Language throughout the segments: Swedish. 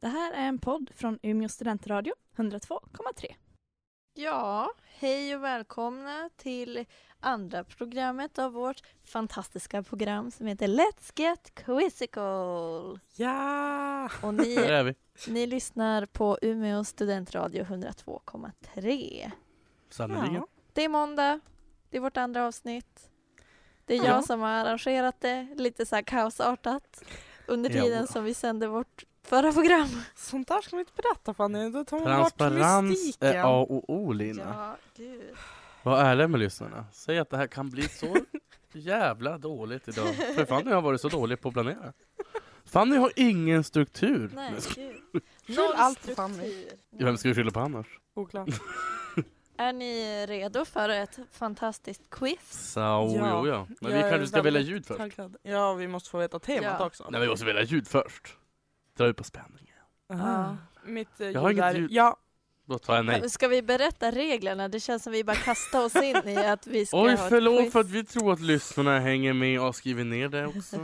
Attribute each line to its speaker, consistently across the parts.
Speaker 1: Det här är en podd från Umeå studentradio, 102,3.
Speaker 2: Ja, hej och välkomna till andra programmet av vårt fantastiska program som heter Let's Get Quizzical.
Speaker 3: Ja!
Speaker 2: Och
Speaker 3: Där
Speaker 2: ni,
Speaker 3: är vi.
Speaker 2: ni lyssnar på Umeå studentradio 102,3.
Speaker 3: Sannerligen.
Speaker 2: Det är måndag, det är vårt andra avsnitt. Det är jag
Speaker 3: Ja.
Speaker 2: som har arrangerat det, lite så här kaosartat, under
Speaker 3: Ja.
Speaker 2: tiden som vi sände vårt förra program.
Speaker 4: Sånt där ska man inte berätta Fanny, då tar man bort
Speaker 3: Transparens
Speaker 4: mystiken.
Speaker 3: är A och O Lina.
Speaker 2: gud.
Speaker 3: Var ärlig med lyssnarna. Säg att det här kan bli så jävla dåligt idag. För Fanny har varit så dålig på att planera. Fanny har ingen struktur.
Speaker 2: Nej,
Speaker 3: Men sk-
Speaker 2: gud.
Speaker 4: Skyll
Speaker 2: Noll
Speaker 4: allt på Fanny.
Speaker 2: struktur.
Speaker 3: Vem ska vi skylla på annars?
Speaker 4: Oklart.
Speaker 2: Är ni redo för ett fantastiskt quiz?
Speaker 3: Så, jo, ja. Men vi
Speaker 4: Jag är
Speaker 3: kanske ska välja
Speaker 4: väldigt
Speaker 3: ljud först.
Speaker 4: Taggad. Ja, vi måste få veta temat
Speaker 2: Ja.
Speaker 4: också.
Speaker 3: Nej, vi måste välja ljud först. Dra ut på spänningen.
Speaker 4: Ah. Mitt eh,
Speaker 3: Jag har
Speaker 4: ljud
Speaker 3: inget
Speaker 4: är...
Speaker 3: ljud.
Speaker 4: Ja,
Speaker 3: Då tar jag nej.
Speaker 2: Ska vi berätta reglerna? Det känns som vi bara kastar oss in i att vi ska
Speaker 3: Oj,
Speaker 2: ha ett
Speaker 3: förlåt
Speaker 2: quiz.
Speaker 3: för att vi tror att lyssnarna hänger med och har skrivit ner det också.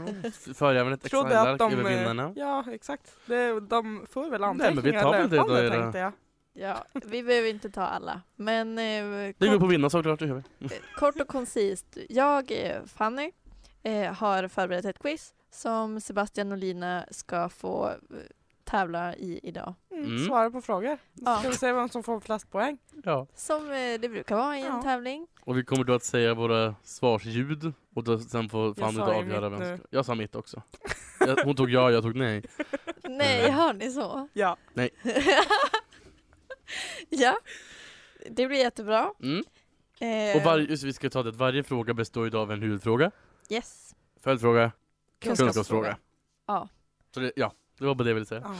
Speaker 3: Föräven ett
Speaker 4: trodde att
Speaker 3: Excel-ark
Speaker 4: de...
Speaker 3: över
Speaker 4: eh,
Speaker 3: vinnarna.
Speaker 4: Ja, exakt. Det, de får väl
Speaker 3: Nej, men vi
Speaker 4: anteckningar
Speaker 3: tar väl
Speaker 4: i alla
Speaker 3: det
Speaker 4: fall,
Speaker 3: då, era-
Speaker 4: tänkte jag.
Speaker 2: Ja, vi behöver inte ta alla. Men eh,
Speaker 3: Det går
Speaker 2: kort,
Speaker 3: på vinna såklart, det gör vi.
Speaker 2: eh, kort och koncist. Jag, eh, Fanny, eh, har förberett ett quiz som Sebastian och Lina ska få eh, tävla i idag.
Speaker 4: Mm.
Speaker 3: Mm.
Speaker 4: Svara på frågor.
Speaker 2: Ja.
Speaker 4: Ska vi se vem som får flest poäng?
Speaker 3: Ja.
Speaker 2: Som eh, det brukar vara i en
Speaker 4: Ja.
Speaker 2: tävling.
Speaker 3: Och vi kommer då att säga våra svarsljud och då, sen får Fanny då
Speaker 4: sa ju
Speaker 3: avgöra
Speaker 4: mitt
Speaker 3: vem som
Speaker 4: nu.
Speaker 3: ska... Jag sa mitt också. Jag, hon tog ja, jag tog nej.
Speaker 2: Nej,
Speaker 3: Mm.
Speaker 2: har ni så?
Speaker 4: Ja.
Speaker 2: ja, det blir jättebra.
Speaker 3: Mm.
Speaker 2: Eh,
Speaker 3: Och varje, just, vi ska ta det att varje fråga består idag av en huvudfråga,
Speaker 2: Yes.
Speaker 3: följdfråga,
Speaker 2: Kunskapsfråga.
Speaker 3: kunskapsfråga.
Speaker 2: Ja.
Speaker 3: Så det, ja, det var bara det jag ville säga.
Speaker 4: ja.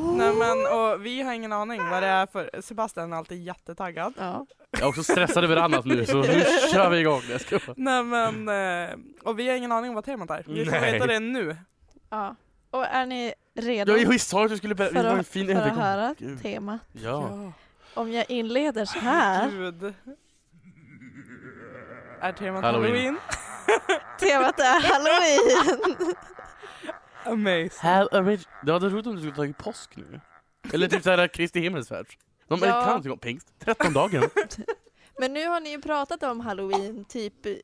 Speaker 4: Nej men, och vi har ingen aning vad det är för... Sebastian är alltid jättetaggad.
Speaker 2: Ja.
Speaker 3: Jag är också stressad över annat nu så nu kör vi igång. Jag ska bara...
Speaker 4: Nej men, eh, och vi har ingen aning om vad temat är. Vi får
Speaker 3: Nej.
Speaker 4: veta det nu.
Speaker 2: ja. Och är ni redo
Speaker 3: Ja, jag sa att du skulle berätta,
Speaker 2: för,
Speaker 3: det var en
Speaker 2: att,
Speaker 3: fin
Speaker 2: för att
Speaker 3: övergång.
Speaker 2: höra
Speaker 3: Gud.
Speaker 2: tema?
Speaker 3: Ja.
Speaker 2: Om jag inleder så här.
Speaker 4: Gud. Är temat
Speaker 3: Halloween.
Speaker 4: Halloween?
Speaker 2: Temat är halloween.
Speaker 4: Amazing.
Speaker 3: Have a rich... Det hade varit roligt om du skulle tagit påsk nu. Eller typ såhär Kristi himmelsfärd. De
Speaker 2: Ja.
Speaker 3: kan inte gå pingst, trettondagen.
Speaker 2: Men nu har ni ju pratat om halloween typ i-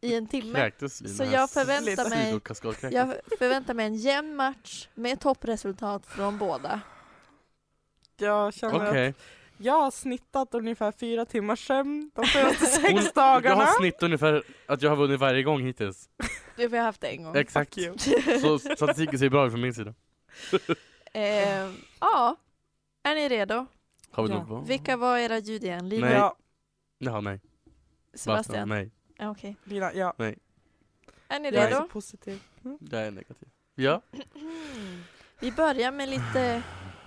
Speaker 2: i en timme.
Speaker 3: Kräktes Lina
Speaker 2: Så
Speaker 3: här.
Speaker 2: jag förväntar mig-
Speaker 3: Sidokaskadkräktes.
Speaker 2: Jag förväntar mig en jämn match med toppresultat från båda.
Speaker 4: Jag känner
Speaker 3: Okej.
Speaker 4: att jag har snittat ungefär fyra timmars sömn de senaste
Speaker 3: Hon-
Speaker 4: sex dagarna.
Speaker 3: Jag har snitt ungefär att jag har vunnit varje gång hittills.
Speaker 2: Du har haft det en gång.
Speaker 3: Exakt.
Speaker 4: you.
Speaker 3: Så statistiken ser bra ut från min sida.
Speaker 2: Eh, ja. Är ni redo?
Speaker 3: Har vi
Speaker 4: Ja.
Speaker 3: något på?
Speaker 2: Vilka var era ljud igen? Lina?
Speaker 3: Nej.
Speaker 4: Ja,
Speaker 3: Jaha, nej. Basta,
Speaker 2: Sebastian?
Speaker 3: nej.
Speaker 2: Ja, Okej.
Speaker 4: Lina, ja.
Speaker 2: Är ni
Speaker 3: Jag är
Speaker 4: Jag är
Speaker 2: redo?
Speaker 4: så positiv.
Speaker 3: Jag är negativ. Ja.
Speaker 2: Mm. Vi börjar med lite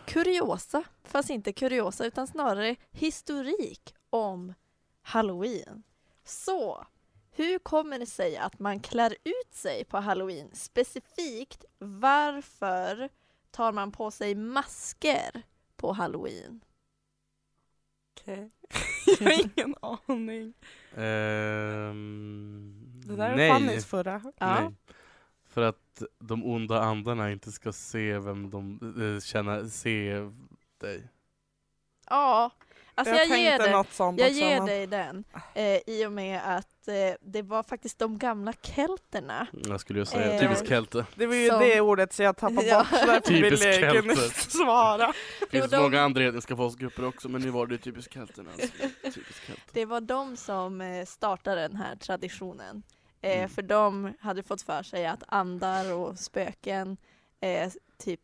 Speaker 2: kuriosa, fast inte kuriosa utan snarare historik om halloween. Så, hur kommer det sig att man klär ut sig på halloween? Specifikt, varför tar man på sig masker på halloween?
Speaker 4: Okej. jag har ingen aning.
Speaker 3: Ehm,
Speaker 4: Det där är
Speaker 3: nej.
Speaker 4: Fannys förra.
Speaker 2: Ja.
Speaker 3: nej. För att de onda andarna inte ska se vem de eh, känner, se dig.
Speaker 2: Ja, alltså jag, ger
Speaker 4: tänkte
Speaker 2: dig,
Speaker 4: något sånt
Speaker 2: jag
Speaker 4: också,
Speaker 2: ger
Speaker 4: men-
Speaker 2: dig den eh, i och med att eh, det var faktiskt de gamla kelterna
Speaker 3: Jag skulle ju säga
Speaker 2: Eh,
Speaker 3: typisk kälte.
Speaker 4: Det var ju
Speaker 2: Som-
Speaker 4: det ordet så jag tappade bort,
Speaker 2: Ja.
Speaker 4: så därför
Speaker 3: Typiskt
Speaker 4: ville jag kunna
Speaker 3: Kenter.
Speaker 4: svara.
Speaker 3: Det finns
Speaker 2: de-
Speaker 3: många andra etniska folkgrupper också men nu var det ju typisk kälten. Alltså. Typisk kälten.
Speaker 2: Det var de som eh, startade den här traditionen. Eh,
Speaker 3: Mm.
Speaker 2: För de hade fått för sig att andar och spöken eh, typ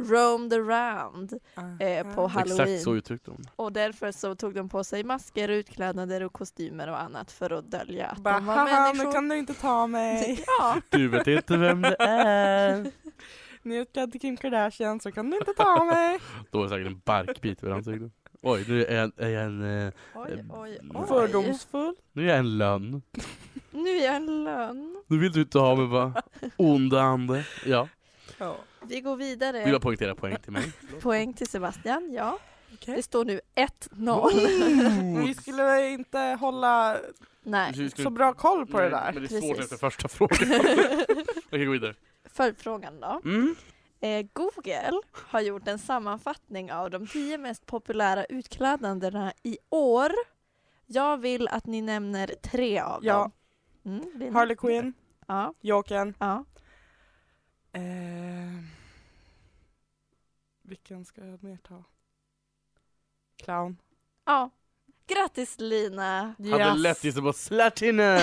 Speaker 2: roamed around eh, på halloween.
Speaker 3: Exakt så uttryckte hon
Speaker 2: Och därför så tog de på sig masker, utklädnader och kostymer och annat för att dölja att
Speaker 4: Bara,
Speaker 2: de var
Speaker 4: haha, nu
Speaker 2: människor.
Speaker 4: kan du inte ta mig.
Speaker 2: Ja,
Speaker 3: Du vet inte vem det är.
Speaker 4: Ni är utklädd till Kim Kardashian, så kan du inte ta mig.
Speaker 3: Då är det säkert en barkbit över ansiktet. Oj, nu är jag, är jag en, eh,
Speaker 2: oj, oj, oj.
Speaker 4: Fördomsfull.
Speaker 3: nu är jag en lönn.
Speaker 2: Nu är jag en lön.
Speaker 3: Nu vill du inte ha mig va? Onda ande. Ja,
Speaker 4: Ja.
Speaker 2: Vi går
Speaker 3: vill
Speaker 2: vidare.
Speaker 3: jag poängtera poäng till mig.
Speaker 2: Poäng till Sebastian, ja.
Speaker 4: Okej.
Speaker 2: Det står nu 1-0.
Speaker 4: Men Vi skulle väl inte hålla
Speaker 2: Nej.
Speaker 3: Du Mm. skulle-
Speaker 4: så bra koll på det
Speaker 3: Nej,
Speaker 4: där.
Speaker 3: Men det är svårt
Speaker 2: Precis.
Speaker 3: efter första frågan. Okej, gå vidare.
Speaker 2: Följdfrågan då.
Speaker 3: Mm.
Speaker 2: Eh, Google har gjort en sammanfattning av de tio mest populära utklädnaderna i år. Jag vill att ni nämner tre av
Speaker 4: Ja.
Speaker 2: dem. Mm, Lina?
Speaker 4: Harley Quinn,
Speaker 2: Ja,
Speaker 4: Jokern.
Speaker 2: ja.
Speaker 4: Eh, vilken ska jag mer ta? Clown.
Speaker 2: ja. Grattis Lina!
Speaker 3: Hade lätt gissat på Slatina!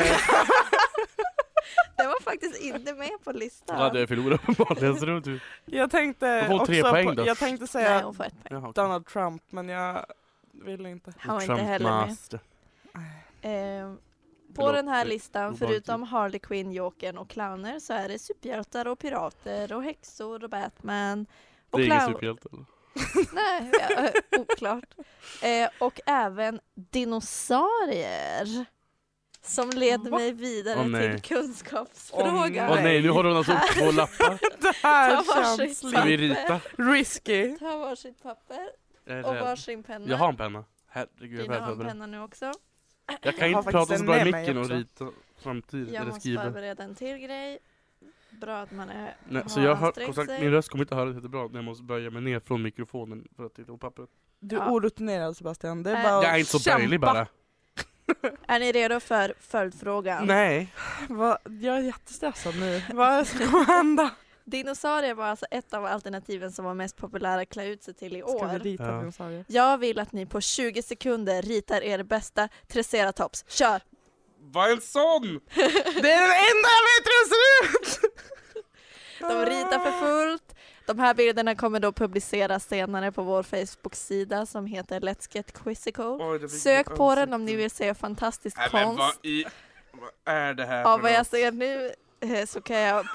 Speaker 2: Den var faktiskt inte med på listan.
Speaker 3: Då hade jag förlorat uppenbarligen. så det var tur.
Speaker 4: Jag tänkte
Speaker 3: Då får hon tre
Speaker 4: också
Speaker 3: poäng
Speaker 4: på,
Speaker 3: då.
Speaker 4: jag tänkte
Speaker 2: Nej,
Speaker 4: säga
Speaker 2: hon får ett poäng.
Speaker 3: Jaha, okej.
Speaker 4: Donald Trump men jag vill inte.
Speaker 2: Han var
Speaker 3: Trump
Speaker 2: inte heller med.
Speaker 3: master.
Speaker 2: Eh, på
Speaker 3: Förlåt,
Speaker 2: den här
Speaker 3: det-
Speaker 2: listan,
Speaker 3: obehagligt.
Speaker 2: förutom Harley Quinn, Jokern och clowner, så är det superhjältar och pirater och häxor och Batman. Och
Speaker 3: Det är ingen
Speaker 2: clown-
Speaker 3: superhjälte. eller?
Speaker 2: Nej, ja, eh, oklart. Eh, och även dinosaurier. Som leder
Speaker 4: Va?
Speaker 2: mig vidare
Speaker 3: Åh, nej.
Speaker 2: till kunskapsfrågan.
Speaker 3: Åh nej, nu har hon alltså upp två lappar.
Speaker 4: Det
Speaker 2: Ta
Speaker 4: här
Speaker 2: varsitt
Speaker 4: känns
Speaker 3: Ska
Speaker 2: papper.
Speaker 4: lite
Speaker 3: vi rita?
Speaker 4: risky.
Speaker 2: Ta varsitt papper
Speaker 3: Jag är
Speaker 2: och
Speaker 3: rädd.
Speaker 2: varsin penna.
Speaker 3: Jag har en penna. Herregud, jag är
Speaker 2: Lina har
Speaker 3: rädd
Speaker 2: en
Speaker 3: för det.
Speaker 2: penna nu också.
Speaker 3: Jag kan
Speaker 4: Jag har
Speaker 3: inte prata
Speaker 4: faktiskt en
Speaker 3: så bra i
Speaker 4: med mig
Speaker 3: micken och
Speaker 4: också.
Speaker 3: rita samtidigt.
Speaker 2: Jag
Speaker 3: eller
Speaker 2: måste
Speaker 3: skriva.
Speaker 2: förbereda en till grej. Bra att man är,
Speaker 3: Nej,
Speaker 2: har
Speaker 3: så jag hör,
Speaker 2: ansträngt
Speaker 3: som sagt,
Speaker 2: sig.
Speaker 3: min röst kommer inte höra jättebra när jag måste böja mig ner från mikrofonen för att titta på papperet.
Speaker 4: Du
Speaker 2: Ja.
Speaker 4: är orutinerad Sebastian. Det är
Speaker 2: Äh.
Speaker 4: bara
Speaker 3: Jag är
Speaker 4: att
Speaker 3: inte så
Speaker 4: kämpa.
Speaker 3: böjlig bara.
Speaker 2: Är ni redo för följdfrågan?
Speaker 3: Nej.
Speaker 4: Va, jag är jättestressad nu. Vad är det som kommer hända?
Speaker 2: Dinosaurier var alltså ett av alternativen som var mest populära att klä ut sig till i
Speaker 4: Ska vi
Speaker 2: år.
Speaker 4: rita
Speaker 3: Ja.
Speaker 4: dinosaurier?
Speaker 2: Jag vill att ni på 20 sekunder ritar er bästa triceratops. Kör!
Speaker 3: Vad en sån!
Speaker 4: Det är den enda jag vet hur den ser ut!
Speaker 2: De ritar
Speaker 3: Ah.
Speaker 2: för fullt. De här bilderna kommer då publiceras senare på vår Facebook-sida som heter Let's Get Quizzical.
Speaker 3: Oj, det fick
Speaker 2: Sök
Speaker 3: mitt
Speaker 2: på den
Speaker 3: ansikte.
Speaker 2: om ni vill se fantastisk
Speaker 3: Nej, men vad
Speaker 2: konst.
Speaker 3: i... Vad är det här
Speaker 2: Av
Speaker 3: för
Speaker 2: vad jag
Speaker 3: något?
Speaker 2: ser nu eh, så kan jag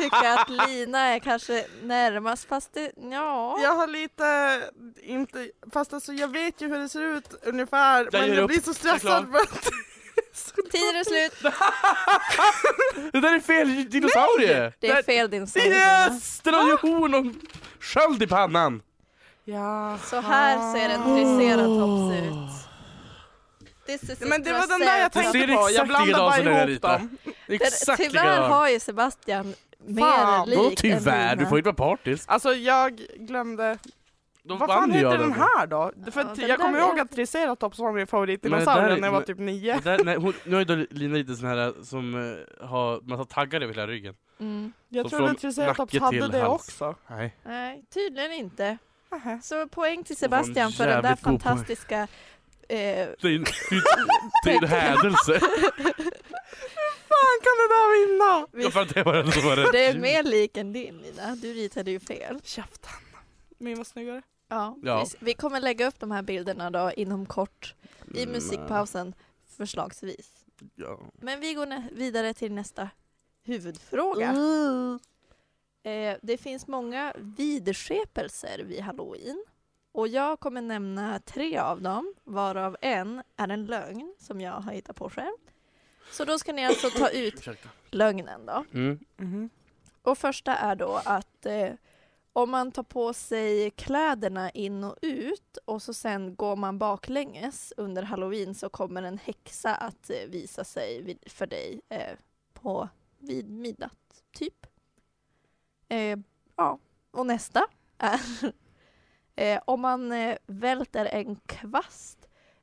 Speaker 2: tycka att Lina är kanske närmast fast det, ja.
Speaker 4: Jag har lite, inte, fast alltså jag vet ju hur det ser ut ungefär
Speaker 3: Jag
Speaker 4: men
Speaker 3: ger
Speaker 4: jag
Speaker 3: upp.
Speaker 4: blir så
Speaker 3: Jag är
Speaker 4: stressad
Speaker 3: klar.
Speaker 4: för att
Speaker 2: Tiden är slut.
Speaker 3: Det där är fel dinosaurie!
Speaker 2: Det är fel Ah! din son.
Speaker 3: Yes! Den har ju horn och sköld i pannan!
Speaker 4: ja. Mm.
Speaker 2: Så här ser en
Speaker 3: Ah.
Speaker 2: triceratops ut. This is
Speaker 4: Men det var den där jag
Speaker 2: triceratops.
Speaker 4: tänkte
Speaker 3: ser
Speaker 4: på, jag
Speaker 3: exakt
Speaker 4: blandar
Speaker 3: likadan
Speaker 4: bara
Speaker 3: som den jag
Speaker 4: ihop
Speaker 3: ritade.
Speaker 4: dem.
Speaker 3: Exakt
Speaker 2: Tyvärr
Speaker 3: likadan.
Speaker 2: har ju Sebastian mer
Speaker 4: Fan,
Speaker 2: likt
Speaker 3: Vadå
Speaker 2: än
Speaker 3: tyvärr? Du
Speaker 2: Lina.
Speaker 3: får inte vara partisk.
Speaker 4: Alltså jag glömde,
Speaker 3: Då
Speaker 4: vad
Speaker 3: vann
Speaker 4: fan
Speaker 3: jag
Speaker 4: heter den här då? För
Speaker 2: Ja,
Speaker 4: att
Speaker 2: den
Speaker 4: jag
Speaker 2: där
Speaker 4: kommer
Speaker 2: vet
Speaker 4: ihåg
Speaker 2: jag.
Speaker 4: att triceratops var min
Speaker 3: Men det
Speaker 4: favoritdinosaurie
Speaker 3: där-
Speaker 4: när jag var
Speaker 3: men-
Speaker 4: typ nio.
Speaker 3: Det Där, nej, hon, nu har ju då Lina lite sån här som eh, har massa taggar över hela ryggen.
Speaker 2: Mm.
Speaker 4: Jag
Speaker 3: Så
Speaker 4: trodde
Speaker 3: från
Speaker 4: triceratops
Speaker 3: nacke
Speaker 4: hade
Speaker 3: till
Speaker 4: det
Speaker 3: hals.
Speaker 4: också.
Speaker 3: Nej.
Speaker 2: Nej, tydligen inte.
Speaker 4: Nähä.
Speaker 2: Så poäng till
Speaker 3: Det var en
Speaker 2: Sebastian för den där
Speaker 3: jävligt god poäng.
Speaker 2: fantastiska eh,
Speaker 3: Det är en- det är en- det är en hädelse.
Speaker 4: Fan kan det där vinna?
Speaker 2: vi-
Speaker 3: Jag fattar inte vad det var som var rätt.
Speaker 2: det är mer lik än din Lina, du ritade ju fel.
Speaker 4: Käften. Min var snyggare.
Speaker 2: Ja,
Speaker 3: Ja.
Speaker 2: Vi, vi kommer lägga upp de här bilderna då inom kort i
Speaker 3: Mm,
Speaker 2: musikpausen förslagsvis.
Speaker 3: Ja.
Speaker 2: Men vi går nä- vidare till nästa huvudfråga. Eh, det finns många vidskepelser vid halloween. Och jag kommer nämna tre av dem, varav en är en lögn som jag har hittat på själv. Så då ska ni alltså ta ut
Speaker 3: Ursäkta.
Speaker 2: lögnen då.
Speaker 3: Mm.
Speaker 4: Mhm.
Speaker 2: Och första är då att eh, om man tar på sig kläderna in och ut och så sen går man baklänges under halloween så kommer en häxa att eh, visa sig vid, för dig eh, på, vid midnatt, typ. Eh, ja, och nästa är eh, om man eh, välter en kvast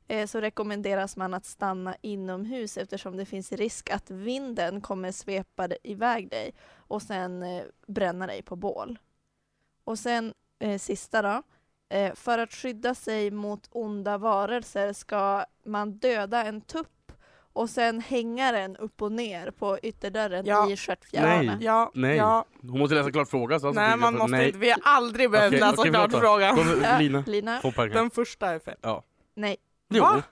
Speaker 2: eh, så rekommenderas man att stanna inomhus eftersom det finns risk att vinden kommer svepa dig- iväg dig och sen eh, bränna dig på bål. Och sen eh, sista då. Eh, för att skydda sig mot onda varelser ska man döda en tupp och sen hänga den upp och ner på ytterdörren
Speaker 4: Ja.
Speaker 2: i stjärtfjädrarna.
Speaker 3: Nej.
Speaker 4: Ja,
Speaker 3: Nej.
Speaker 4: ja.
Speaker 3: Hon måste läsa klart frågan. Så alltså
Speaker 4: Nej
Speaker 3: tycker
Speaker 4: man
Speaker 3: jag
Speaker 4: måste
Speaker 3: att- nej.
Speaker 4: inte, vi har aldrig behövt
Speaker 3: Okej,
Speaker 4: läsa
Speaker 3: okej,
Speaker 4: klart
Speaker 3: vänta.
Speaker 4: frågan.
Speaker 3: Kom, Lina,
Speaker 2: Lina?
Speaker 3: få pengar.
Speaker 4: Den första är fel.
Speaker 2: Nej.
Speaker 3: Jo.
Speaker 4: Va?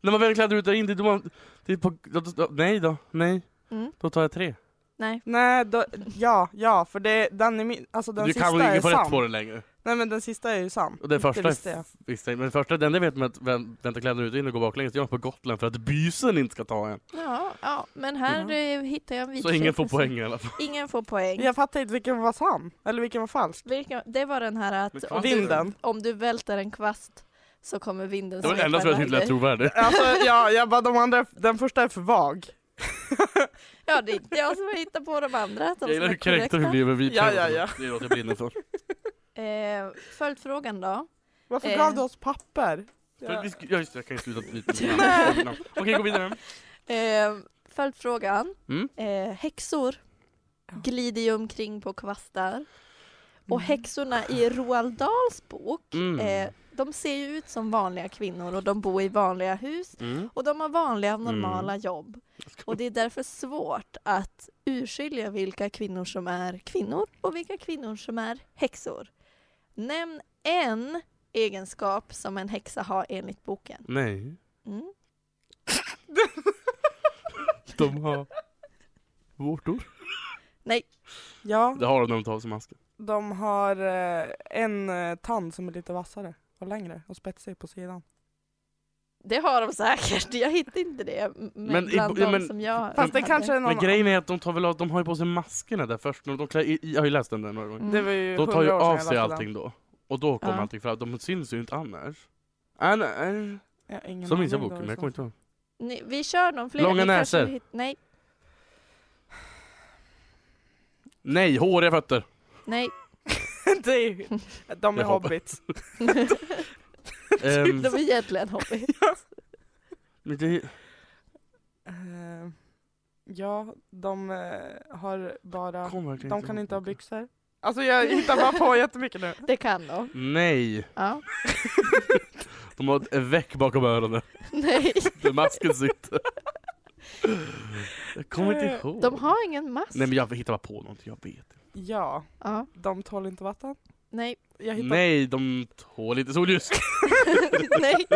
Speaker 3: När man väl kläder ut där in, det är då man... Det är på, då, då, då, nej då, nej.
Speaker 2: Mm.
Speaker 3: Då tar jag tre.
Speaker 2: Nej.
Speaker 4: Nej, då, ja, ja, för det, den är min, alltså den
Speaker 3: du
Speaker 4: sista
Speaker 3: kan väl
Speaker 4: är
Speaker 3: inte få rätt
Speaker 4: sann.
Speaker 3: på den längre?
Speaker 4: Nej men den sista är ju sann.
Speaker 3: Och den första,
Speaker 4: visste jag.
Speaker 3: visste jag. Men den första, den där vet man att vem, vänta kläderna ut och in och går baklänges, det gör man på Gotland för att bysen inte ska ta en.
Speaker 2: Ja, ja, men här
Speaker 4: Ja.
Speaker 2: eh, hittar jag en
Speaker 3: Så
Speaker 2: vidskepelse.
Speaker 3: ingen får poäng i alla fall.
Speaker 2: Ingen får poäng.
Speaker 4: Jag fattar inte vilken var sann, eller vilken var falsk.
Speaker 2: Vilken, det var den här att
Speaker 3: Men
Speaker 2: om du,
Speaker 4: Vinden.
Speaker 2: om du välter en kvast så kommer vinden
Speaker 3: Det var det enda som jag
Speaker 2: svepa
Speaker 3: tyckte lät
Speaker 2: iväg dig.
Speaker 3: trovärdigt.
Speaker 4: Alltså ja, jag bara de andra, den första är för vag.
Speaker 2: Ja, det är inte jag som har hittat på de andra. De
Speaker 3: Jag gillar
Speaker 2: som är
Speaker 3: hur kränkta vi
Speaker 2: korrekta.
Speaker 3: blev över vi
Speaker 4: Ja,
Speaker 3: tre.
Speaker 4: ja, ja.
Speaker 3: Det är något jag brinner för.
Speaker 2: Eh, Följdfrågan då.
Speaker 4: Varför
Speaker 2: Eh.
Speaker 4: gav du oss papper?
Speaker 3: För att vi sk- Ja just det, jag kan ju sluta byta
Speaker 2: Nej.
Speaker 3: namn. Okej, gå vidare.
Speaker 2: Eh, följdfrågan.
Speaker 3: Mm.
Speaker 2: Eh, häxor glider ju omkring på kvastar. Och häxorna i Roald Dahls bok,
Speaker 3: Mm.
Speaker 2: eh, de ser ju ut som vanliga kvinnor och de bor i vanliga hus
Speaker 3: Mm.
Speaker 2: och de har vanliga normala
Speaker 3: Mm.
Speaker 2: jobb. Och det är därför svårt att urskilja vilka kvinnor som är kvinnor och vilka kvinnor som är häxor. Nämn en egenskap som en häxa har enligt boken.
Speaker 3: Nej,
Speaker 2: Mm.
Speaker 3: de har vårtor.
Speaker 4: Ja,
Speaker 3: Det har de när de tar av sig masken.
Speaker 4: de har eh, en eh, tand som är lite vassare och längre och spetsig på sidan.
Speaker 2: Det har de säkert, jag hittar inte det m-
Speaker 3: Men
Speaker 2: men
Speaker 3: i
Speaker 2: bland
Speaker 3: bo- ja,
Speaker 2: de
Speaker 3: men-
Speaker 2: som jag
Speaker 4: Fast det
Speaker 2: hade.
Speaker 4: kanske är någon...
Speaker 3: Men grejen är att de tar väl av, de har ju på sig maskerna där först. när De klär, i- jag har ju läst den där några gånger.
Speaker 2: Mm.
Speaker 4: Det var ju
Speaker 3: De tar ju
Speaker 4: 100 år sedan
Speaker 3: av
Speaker 4: jag
Speaker 3: sig
Speaker 4: läste den.
Speaker 3: allting då. Och då kommer
Speaker 4: Ja.
Speaker 3: allting fram. De syns ju inte annars. Äh, nej.
Speaker 4: Jag har ingen
Speaker 3: Så minns jag
Speaker 4: aning
Speaker 3: boken, men
Speaker 4: då,
Speaker 3: jag kommer inte ihåg.
Speaker 2: Ni, vi kör någon fler.
Speaker 3: Långa
Speaker 2: Ni kanske
Speaker 3: näsor.
Speaker 2: hit- Nej,
Speaker 3: Nej, håriga fötter!
Speaker 2: nej.
Speaker 4: det är ju, de är
Speaker 3: Jag hoppar.
Speaker 4: hobbits.
Speaker 3: Ehm,
Speaker 2: De är egentligen hobby.
Speaker 3: men det-
Speaker 4: Eh, ja, de eh, har bara...
Speaker 3: kom verkligen
Speaker 4: De kan
Speaker 3: ihåg
Speaker 4: inte ha
Speaker 3: boken.
Speaker 4: byxor. Alltså jag hittar bara på jättemycket nu.
Speaker 2: Det kan de.
Speaker 3: Nej,
Speaker 2: Ja.
Speaker 3: de har ett väck bakom öronen.
Speaker 2: Nej,
Speaker 3: Där masken sitter. Jag kommer inte ihåg.
Speaker 2: Eh, de har ingen mask.
Speaker 3: Nej men jag hittar bara på någonting, jag vet inte.
Speaker 4: Ja,
Speaker 2: Ja,
Speaker 4: de tål inte vatten.
Speaker 2: nej,
Speaker 4: Jag hittar...
Speaker 3: Nej, de tål inte solljus.
Speaker 2: nej,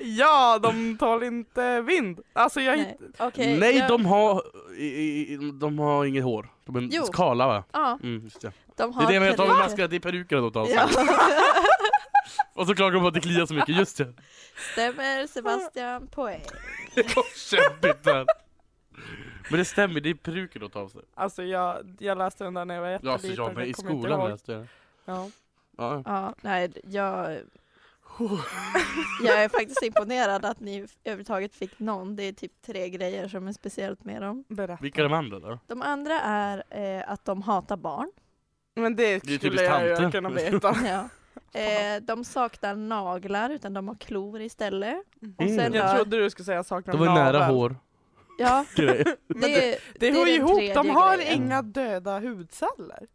Speaker 4: Ja, de tål inte vind. Alltså jag
Speaker 2: nej.
Speaker 4: hitt...
Speaker 2: Okej.
Speaker 3: Nej,
Speaker 2: jag-
Speaker 3: de har, i, i, i- de har inget hår. De är
Speaker 2: Jo.
Speaker 3: kala va?
Speaker 2: Ja,
Speaker 3: Mm, just det.
Speaker 2: de
Speaker 3: det
Speaker 2: har
Speaker 3: är det med att de har
Speaker 2: peruker.
Speaker 3: maskerna, det är perukerna de tar av sig.
Speaker 2: Ja,
Speaker 3: Och så klagar de på att det kliar så mycket, just det.
Speaker 2: stämmer Sebastian poäng.
Speaker 3: Vad kämpigt där. Men det stämmer, det är peruker de tar av sig.
Speaker 4: Alltså jag, jag läste den där när jag var
Speaker 3: Ja, alltså
Speaker 4: jätteliten.
Speaker 3: jag med, i
Speaker 4: kommer inte
Speaker 3: skolan
Speaker 4: ihåg.
Speaker 3: läste jag det.
Speaker 4: Ja.
Speaker 3: Ja.
Speaker 2: Ja, nej, jag... Jag är faktiskt imponerad att ni överhuvudtaget fick någon. Det är typ tre grejer som är speciellt med dem.
Speaker 4: Berätta.
Speaker 3: Vilka är de andra då?
Speaker 2: De andra är eh, att de hatar barn.
Speaker 4: Men
Speaker 3: Det är ju
Speaker 4: det skulle
Speaker 3: typiskt
Speaker 4: jag
Speaker 3: tanter.
Speaker 4: ju kunna veta.
Speaker 2: Ja. Eh, de saknar naglar utan de har klor istället. Och
Speaker 3: Mm.
Speaker 2: sen
Speaker 3: Ja.
Speaker 4: Jag
Speaker 2: då,
Speaker 4: trodde du skulle säga saknar
Speaker 3: De var
Speaker 4: navel.
Speaker 3: nära hår.
Speaker 2: ja,
Speaker 3: Grejer.
Speaker 4: Men det,
Speaker 2: det,
Speaker 4: det
Speaker 2: är
Speaker 4: hör
Speaker 2: den
Speaker 4: ju ihop, de
Speaker 2: tredje
Speaker 4: har
Speaker 2: grejen.
Speaker 4: inga döda hudceller.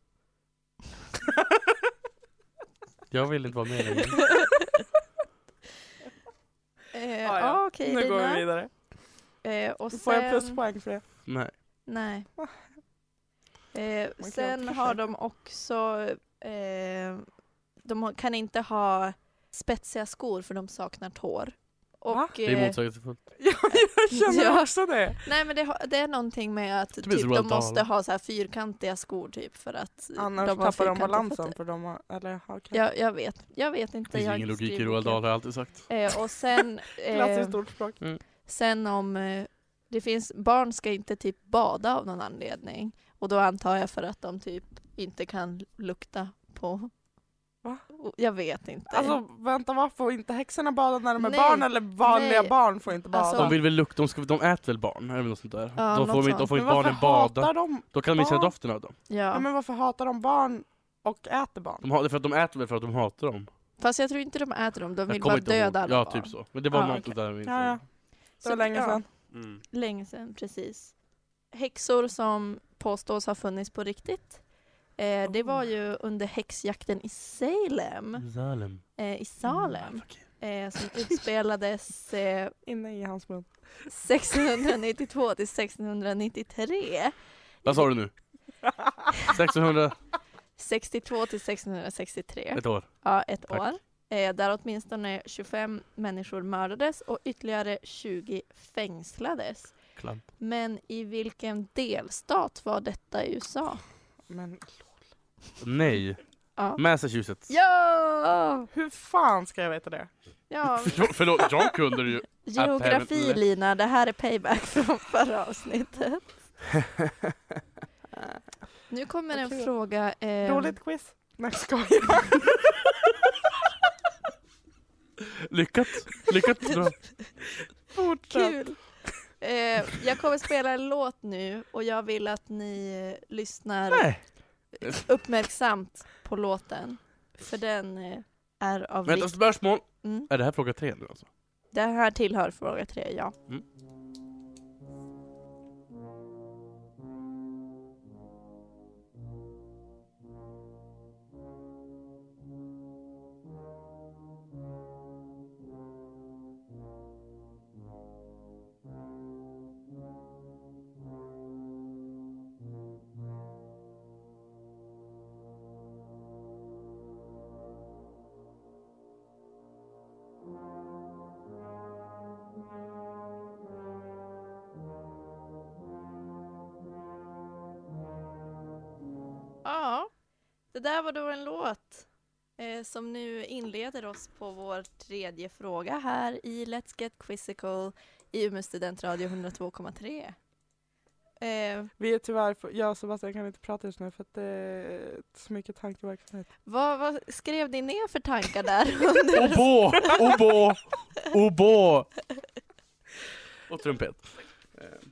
Speaker 3: Jag vill inte vara med längre.
Speaker 2: eh,
Speaker 4: Ja, ja.
Speaker 2: ja, okej
Speaker 4: nu går vi
Speaker 2: dina.
Speaker 4: vidare.
Speaker 2: Eh, och sen,
Speaker 4: Får jag pluspoäng för det?
Speaker 3: Nej.
Speaker 2: Nej. Eh,
Speaker 4: kan
Speaker 2: sen
Speaker 4: försöka.
Speaker 2: har de också, eh, de har- kan inte ha spetsiga skor för de saknar tår.
Speaker 4: Va?
Speaker 2: Och,
Speaker 3: Det är
Speaker 2: eh,
Speaker 3: motsägelsefullt.
Speaker 4: Ja, jag känner
Speaker 2: Ja.
Speaker 4: också det.
Speaker 2: nej men det, har- det är någonting med att
Speaker 3: Typiskt
Speaker 2: typ, de
Speaker 3: Roald Dahl.
Speaker 2: måste ha så här fyrkantiga skor typ för att
Speaker 4: Annars
Speaker 2: de har
Speaker 4: tappar de
Speaker 2: fyrkantiga
Speaker 4: balansen
Speaker 2: fötter.
Speaker 4: för de har, eller ja, okej.
Speaker 2: Jag, jag vet, jag vet inte.
Speaker 3: Det finns
Speaker 2: jag
Speaker 3: ju
Speaker 2: har
Speaker 3: ingen
Speaker 2: inte
Speaker 3: logik i
Speaker 2: skrivit
Speaker 3: Roald
Speaker 2: boken.
Speaker 3: Dahl har jag alltid sagt.
Speaker 2: Eh, och sen, eh,
Speaker 4: Klassiskt ordspråk.
Speaker 2: sen om eh, det finns, barn ska inte typ bada av någon anledning. Och då antar jag för att de typ inte kan lukta på.
Speaker 4: Va?
Speaker 2: Och Jag vet inte.
Speaker 4: Alltså vänta, vad får inte häxorna bada när de är
Speaker 2: Nej,
Speaker 4: barn eller vanliga
Speaker 2: nej.
Speaker 4: barn får inte bada?
Speaker 2: Alltså,
Speaker 3: De vill väl lukta, de, ska, de äter väl barn? Eller något sånt där.
Speaker 2: Ja,
Speaker 3: då
Speaker 2: något
Speaker 3: får, de, inte- då
Speaker 2: sånt.
Speaker 3: får inte
Speaker 4: men varför
Speaker 3: barnen bada.
Speaker 4: hatar de?
Speaker 3: Då kan de inte känna
Speaker 4: barn?
Speaker 3: doften av dem.
Speaker 4: Ja.
Speaker 2: ja.
Speaker 4: men varför hatar de barn och äter barn?
Speaker 3: De, har, det är för att de äter väl för att de hatar dem?
Speaker 2: Fast jag tror inte de äter dem, de
Speaker 3: Jag
Speaker 2: vill
Speaker 3: kommer
Speaker 2: bara
Speaker 3: inte ihåg.
Speaker 2: döda alla
Speaker 3: Ja,
Speaker 2: barn.
Speaker 3: typ så. Men det var
Speaker 2: Ah,
Speaker 3: något där vi inte...
Speaker 4: Ja, ja. Det
Speaker 2: Så-
Speaker 4: var länge
Speaker 2: ja,
Speaker 4: sedan.
Speaker 3: Mm.
Speaker 2: Länge sedan, precis. Häxor som påstås ha funnits på riktigt. Eh, det
Speaker 4: Oh.
Speaker 2: var ju under häxjakten i Salem,
Speaker 3: Zalem.
Speaker 2: eh, i Salem,
Speaker 3: Mm, Fuck you.
Speaker 2: eh, som utspelades eh,
Speaker 4: Inne i hans mun.
Speaker 2: 1692 till 1693.
Speaker 3: Vad sa du nu? 1600,
Speaker 2: 62 till 1663.
Speaker 3: ett år.
Speaker 2: Ja, ett
Speaker 3: Tack.
Speaker 2: år. Eh, där åtminstone 25 människor mördades och ytterligare 20 fängslades.
Speaker 3: Klant.
Speaker 2: Men i vilken delstat var detta i USA?
Speaker 4: Men
Speaker 3: Nej.
Speaker 2: Ja!
Speaker 3: Massachusetts.
Speaker 2: Ja!
Speaker 4: hur fan ska jag veta det?
Speaker 2: ja.
Speaker 3: Förlåt, förlåt, jag kunde det ju.
Speaker 2: Geografi Lina, det här är payback från förra avsnittet. Nu kommer en
Speaker 4: Okej.
Speaker 2: fråga. ehm,
Speaker 4: Roligt quiz. Nej skojar.
Speaker 3: Lyckat. Lyckat. Bra.
Speaker 4: Fortsätt.
Speaker 2: Kul! Eh, Jag kommer spela en låt nu och jag vill att ni eh, lyssnar
Speaker 3: Nej.
Speaker 2: uppmärksamt på låten. För den eh, är av
Speaker 3: Vänta,
Speaker 2: vikt.
Speaker 3: spörsmål.
Speaker 2: Mm.
Speaker 3: Är det här fråga tre nu alltså?
Speaker 2: Det här tillhör fråga tre, ja. Ja, det där var då en låt eh, som nu inleder oss på vår tredje fråga här i Let's Get Quizzical i Umeå studentradio 102,3. Eh,
Speaker 4: Vi är tyvärr, för, jag och Sebastian kan inte prata just nu för att det är så mycket tankeverksamhet.
Speaker 2: vad, vad skrev ni ner för tankar där? under-
Speaker 3: Obo! Obo! Obo! Och trumpet.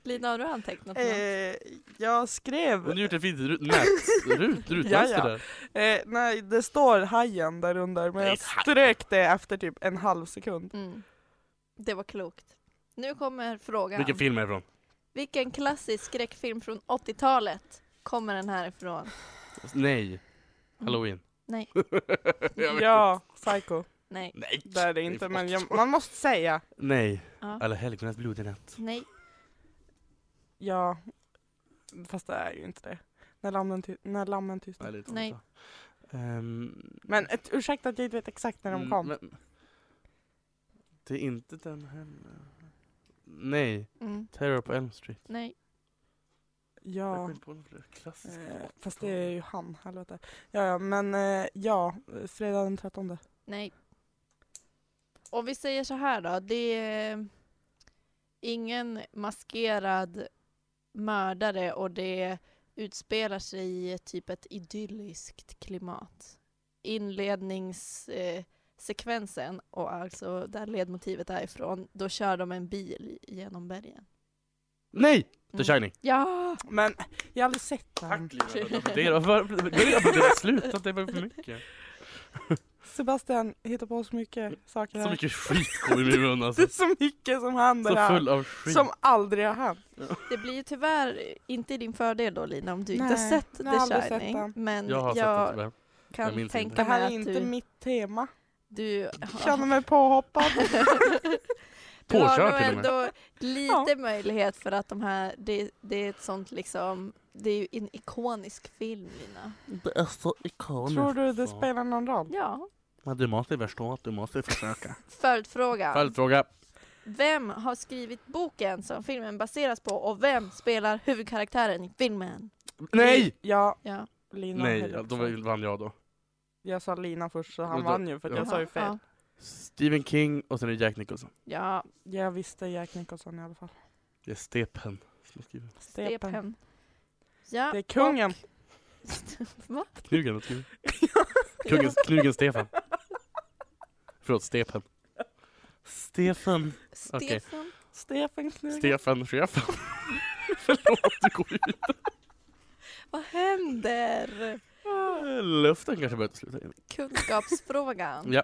Speaker 2: Lina, har du antecknat något?
Speaker 4: Eh, jag skrev,
Speaker 3: Och du har gjort ett fint rut- nät- rut-
Speaker 4: Ja,
Speaker 3: rutmönster
Speaker 4: ja.
Speaker 3: där.
Speaker 4: eh, nej det står hajen där under men
Speaker 3: Nej,
Speaker 4: jag
Speaker 3: det är-
Speaker 4: strök det efter typ en halv sekund.
Speaker 2: Mm. Det var klokt. Nu kommer frågan.
Speaker 3: Vilken film är det från?
Speaker 2: Vilken klassisk skräckfilm från 80-talet kommer den här ifrån?
Speaker 3: Nej. Halloween.
Speaker 2: Nej,
Speaker 3: Jag vet
Speaker 4: Ja, Psycho.
Speaker 2: nej,
Speaker 3: Nej.
Speaker 4: Det är det inte men jag, man måste säga.
Speaker 3: Nej.
Speaker 2: Ja.
Speaker 3: Alla helgonas blodiga natt.
Speaker 2: nej.
Speaker 4: Ja, fast det är ju inte det. När lammen, ty- när lammen tystnar.
Speaker 3: lite
Speaker 2: Nej.
Speaker 3: så. Ehm,
Speaker 4: Men ett, ursäkta att jag inte vet exakt när de
Speaker 3: mm,
Speaker 4: kom.
Speaker 3: men- det är inte den här. Nej.
Speaker 2: Mm.
Speaker 3: Terror på Elm Street.
Speaker 2: Nej.
Speaker 3: Jag
Speaker 4: Ja.
Speaker 3: kommer inte på någon fler klassisk.
Speaker 4: Eh, fast det är ju han, helvete. Ja, ja men eh, ja, fredag den 13.
Speaker 2: Nej. Om vi säger så här då, det är ingen maskerad mördare och det utspelar sig i typ ett idylliskt klimat. Inledningssekvensen, eh, sekvensen, och alltså där ledmotivet är ifrån, då kör de en bil genom bergen.
Speaker 3: Nej! The
Speaker 2: Mm.
Speaker 3: Shining.
Speaker 2: Ja!
Speaker 4: Men jag har aldrig sett den.
Speaker 3: Tack Lina. Det är då slutat, det var för mycket.
Speaker 4: Sebastian hittar på så mycket saker
Speaker 3: Så
Speaker 4: här.
Speaker 3: mycket skit kommer i min mun
Speaker 4: Det
Speaker 3: alltså.
Speaker 4: är så mycket som händer
Speaker 3: Så
Speaker 4: här.
Speaker 3: full av skit.
Speaker 4: Som aldrig har hänt.
Speaker 2: Det blir ju tyvärr inte i din fördel då Lina om du inte
Speaker 4: Nej,
Speaker 2: har sett
Speaker 4: jag har
Speaker 2: The
Speaker 4: aldrig sett
Speaker 2: Shining.
Speaker 4: den.
Speaker 2: men
Speaker 3: jag
Speaker 2: jag,
Speaker 3: har sett det tyvärr. Jag
Speaker 2: kan
Speaker 3: minns
Speaker 4: Det
Speaker 2: tänka
Speaker 4: här
Speaker 2: mig
Speaker 4: är
Speaker 2: att
Speaker 4: inte
Speaker 2: du,
Speaker 4: mitt tema.
Speaker 2: du
Speaker 4: Jag känner mig påhoppad.
Speaker 2: Du har
Speaker 3: Påkörd
Speaker 2: nog
Speaker 3: till och med.
Speaker 2: ändå lite möjlighet för att de här, det, det är ett sånt liksom, det är ju en ikonisk film Lina.
Speaker 3: Det är så ikoniskt.
Speaker 4: Tror du det spelar någon roll?
Speaker 2: Ja.
Speaker 3: Men du måste förstå att du måste försöka.
Speaker 2: Följdfråga.
Speaker 3: Följdfråga.
Speaker 2: Vem har skrivit boken som filmen baseras på och vem spelar huvudkaraktären i filmen?
Speaker 3: Nej!
Speaker 4: Ja,
Speaker 2: Ja.
Speaker 4: Lina
Speaker 3: Nej,
Speaker 4: hade
Speaker 3: då
Speaker 4: också.
Speaker 3: vann jag då.
Speaker 4: Jag sa Lina först så han
Speaker 3: Men då-
Speaker 4: vann ju för att
Speaker 3: ja.
Speaker 4: jag sa ju fel.
Speaker 2: Ja.
Speaker 3: Stephen King och sen är det Jack Nicholson.
Speaker 2: ja.
Speaker 4: Jag visste Jack Nicholson i alla fall.
Speaker 3: Det är Stephen som skriver.
Speaker 4: Stepen.
Speaker 2: Stephen. Ja.
Speaker 4: Det är kungen.
Speaker 2: Va?
Speaker 3: Knugen och knugen. Kungen, knugen Stefan. Förlåt, Stephen. Stefan. Okej.
Speaker 2: Stefan.
Speaker 4: Stefan Knugen.
Speaker 3: Stefan, chefen. Förlåt, det går ju
Speaker 2: Vad händer?
Speaker 3: Eh, Luften kanske börjar ta sluta in.
Speaker 2: Kunskapsfrågan.
Speaker 3: Ja.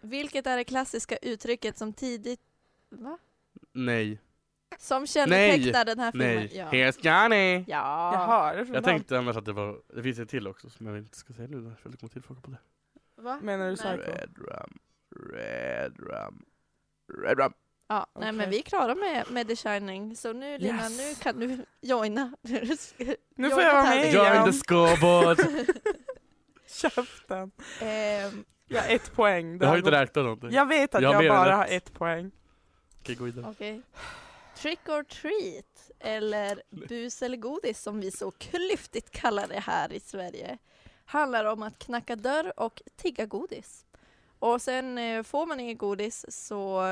Speaker 2: Vilket är det klassiska uttrycket som tidigt... Va?
Speaker 3: Nej.
Speaker 2: Som kännetecknar den här filmen.
Speaker 3: Nej.
Speaker 2: Ja.
Speaker 3: Here's Johnny!
Speaker 2: Ja.
Speaker 4: Jag hör det från
Speaker 3: Jag
Speaker 4: dem.
Speaker 3: tänkte annars att det var... Det finns ett till också som jag inte ska säga nu. Jag skulle komma till fråga på det.
Speaker 2: Va?
Speaker 4: Menar du
Speaker 2: Nej.
Speaker 4: Psycho?
Speaker 3: Red rum. Red rum. Red rum.
Speaker 2: Ja, nej men
Speaker 4: Okej.
Speaker 2: vi är klara med, med The Shining. Så nu Lina,
Speaker 4: Yes.
Speaker 2: nu kan du joina.
Speaker 4: Nu
Speaker 2: Jag
Speaker 4: får jag vara
Speaker 2: kan
Speaker 4: med
Speaker 2: ta
Speaker 3: Join the
Speaker 4: igen.
Speaker 3: scoreboard!
Speaker 4: Käften.
Speaker 2: Ehm,
Speaker 4: Jag har ett poäng. Det
Speaker 3: Jag har
Speaker 4: har
Speaker 3: ju inte
Speaker 4: gått-
Speaker 3: räknat någonting.
Speaker 4: Jag vet att
Speaker 3: Jag har
Speaker 4: jag,
Speaker 3: mer än
Speaker 4: bara
Speaker 3: ett.
Speaker 4: har ett poäng.
Speaker 3: Okej, gå vidare.
Speaker 2: Okej. Trick or treat, eller bus eller godis som vi så klyftigt kallar det här i Sverige, handlar om att knacka dörr och tigga godis. Och sen eh, får man inget godis så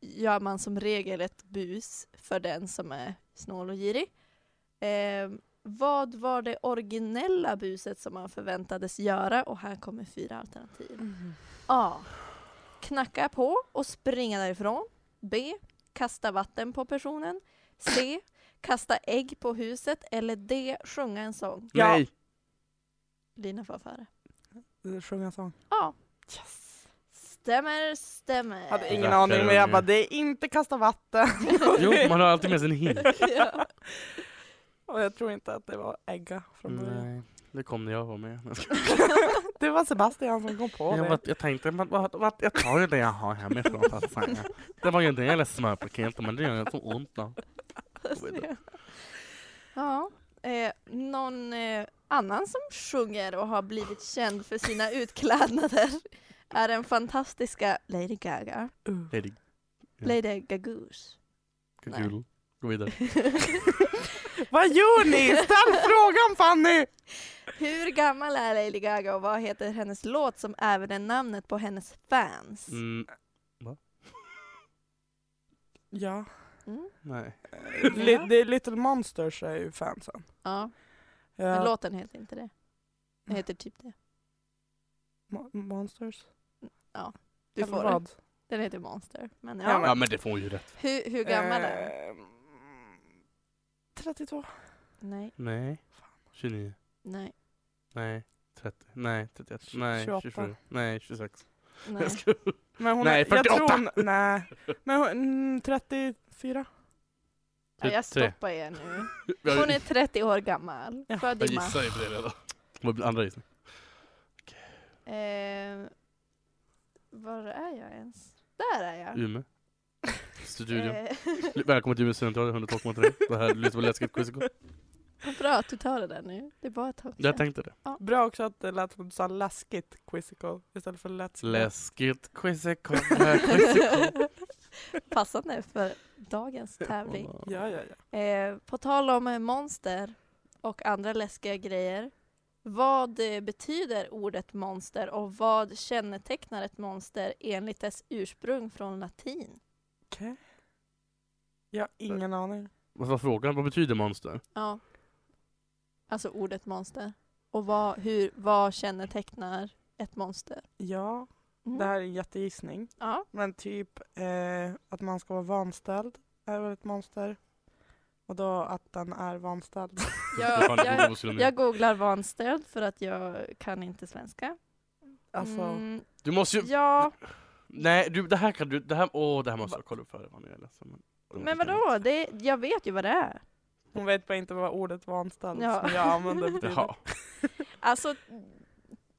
Speaker 2: gör man som regel ett bus för den som är snål och girig. Eh, vad var det originella buset som man förväntades göra? Och här kommer fyra alternativ. A. Knacka på och springa därifrån. B. Kasta vatten på personen. C. Kasta ägg på huset eller D. Sjunga en sång.
Speaker 4: Ja.
Speaker 3: Nej!
Speaker 2: Lina får före.
Speaker 4: Sjunga en sång.
Speaker 2: Ja. Stämmer, stämmer.
Speaker 4: Hade ingen
Speaker 3: Rackare
Speaker 4: aning men jag
Speaker 3: unge.
Speaker 4: bara, det är inte kasta vatten.
Speaker 3: Jo, man har alltid med sig en hink.
Speaker 2: Ja.
Speaker 4: Och jag tror inte att det var ägga från början.
Speaker 3: Nej, det kom när jag var med.
Speaker 4: Det var Sebastian som kom på
Speaker 3: Jag,
Speaker 4: det.
Speaker 3: var, jag tänkte, vad, vad, vad, jag tar ju det jag har hemifrån. fast fan, jag- Det var ju en del smörpaket, men det gör så ont. Då.
Speaker 2: ja. Eh, någon eh, annan som sjunger och har blivit känd för sina utklädnader är den fantastiska Lady Gaga.
Speaker 4: Uh.
Speaker 3: Hej, Ja.
Speaker 2: Lady Gagus. Nej.
Speaker 3: kul. Gå vidare.
Speaker 4: Vad gör ni? Ställ frågan Fanny!
Speaker 2: Hur gammal är Lady Gaga och vad heter hennes låt som även är namnet på hennes fans?
Speaker 3: Mm,
Speaker 4: Ja.
Speaker 2: Mm.
Speaker 3: nej.
Speaker 4: Eh, Li- det är Little Monsters är ju fansen.
Speaker 2: Ja, men
Speaker 4: Ja.
Speaker 2: låten heter inte det. Den heter typ det.
Speaker 4: Mo- Monsters?
Speaker 2: Du
Speaker 4: Eller
Speaker 2: får den.
Speaker 4: vad?
Speaker 2: Den heter Monster. Men ja.
Speaker 4: Ja,
Speaker 3: Ja, men det får hon ju rätt.
Speaker 2: Hur, hur gammal är den?
Speaker 4: Ehm, 32.
Speaker 2: Nej,
Speaker 3: Nej. 29.
Speaker 2: nej,
Speaker 3: Nej. 30. Nej. 31.
Speaker 4: Tj-
Speaker 3: Nej.
Speaker 4: 28.
Speaker 3: 27. Nej. 26.
Speaker 2: nej.
Speaker 4: Men hon
Speaker 3: Nej,
Speaker 4: är, jag
Speaker 3: 48.
Speaker 4: tror, nej, men hon, mm, 34.
Speaker 2: Ja, jag
Speaker 3: 33.
Speaker 2: stoppar er nu. Hon är 30 år gammal.
Speaker 4: Ja.
Speaker 2: Född
Speaker 3: jag
Speaker 2: i mars.
Speaker 3: gissar ju på det redan. Vad blir andra gissning?
Speaker 2: Eh, var är jag ens? Där är jag.
Speaker 3: Umeå. Studion.
Speaker 2: Eh,
Speaker 3: Välkommen till Umeå studentradio 102,3. Det här lyssnar på läskigt quiz.
Speaker 2: bra att du tar det där nu. Det är bara att ta
Speaker 3: Jag tänkte det.
Speaker 4: Bra också att det lät som du sa läskigt quizzical istället för let's
Speaker 3: Läskigt quizical. quizical.
Speaker 2: Passande för dagens tävling.
Speaker 4: Ja, ja, ja.
Speaker 2: Eh, på tal om eh, monster och andra läskiga grejer. Vad eh, betyder ordet monster och vad kännetecknar ett monster enligt dess ursprung från latin?
Speaker 4: Okej. Jag har ingen aning.
Speaker 3: Vad var frågan? Vad betyder monster?
Speaker 2: Ja. Alltså ordet monster. Och vad, hur, vad kännetecknar ett monster?
Speaker 4: Ja,
Speaker 2: Mm.
Speaker 4: det här är en jättegissning.
Speaker 2: Ja.
Speaker 4: Men typ eh, att man ska vara vanställd är väl ett monster. Och då att den är vanställd.
Speaker 2: Jag, jag, jag googlar vanstöd för att jag kan inte svenska.
Speaker 4: Alltså,
Speaker 2: Mm,
Speaker 3: Du måste ju...
Speaker 2: ja,
Speaker 3: Nej, du, det här kan du... Det här, åh, det här måste jag kolla upp före. Vad nu är ledsen, men-
Speaker 2: men vadå? Det, jag vet ju vad det är.
Speaker 4: hon vet bara inte vad ordet vanställd
Speaker 2: Ja.
Speaker 4: som jag använder betyder.
Speaker 3: Jaha.
Speaker 2: Alltså,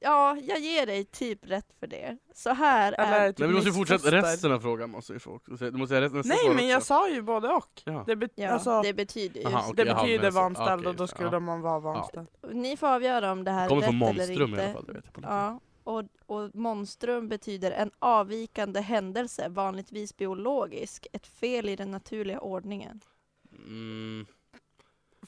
Speaker 2: ja, jag ger dig typ rätt för det. Så här
Speaker 4: Eller är
Speaker 2: är...
Speaker 4: det typ
Speaker 3: Nej, men du måste ju fortsätta
Speaker 4: missfoster?
Speaker 3: resten av frågan. Måste ju få, du måste säga resten nästa
Speaker 4: Nej
Speaker 3: svar
Speaker 4: men jag
Speaker 3: också.
Speaker 4: sa ju både och.
Speaker 3: Ja.
Speaker 4: Det, bet-
Speaker 2: Ja,
Speaker 4: alltså, det,
Speaker 2: det betyder ju...
Speaker 3: Aha, okej. jaha, men
Speaker 4: betyder
Speaker 3: alltså,
Speaker 4: vanställd
Speaker 3: okej,
Speaker 4: och då
Speaker 3: så,
Speaker 4: skulle
Speaker 3: ja.
Speaker 4: man vara vanställd.
Speaker 2: Ni får avgöra om det här är
Speaker 3: Kommer
Speaker 2: rätt
Speaker 3: från
Speaker 2: eller
Speaker 3: Monstrum i
Speaker 2: inte.
Speaker 3: alla fall. Det vet jag på latin.
Speaker 2: Ja, och, och monstrum betyder en avvikande händelse, vanligtvis biologisk, ett fel i den naturliga ordningen.
Speaker 3: Mm,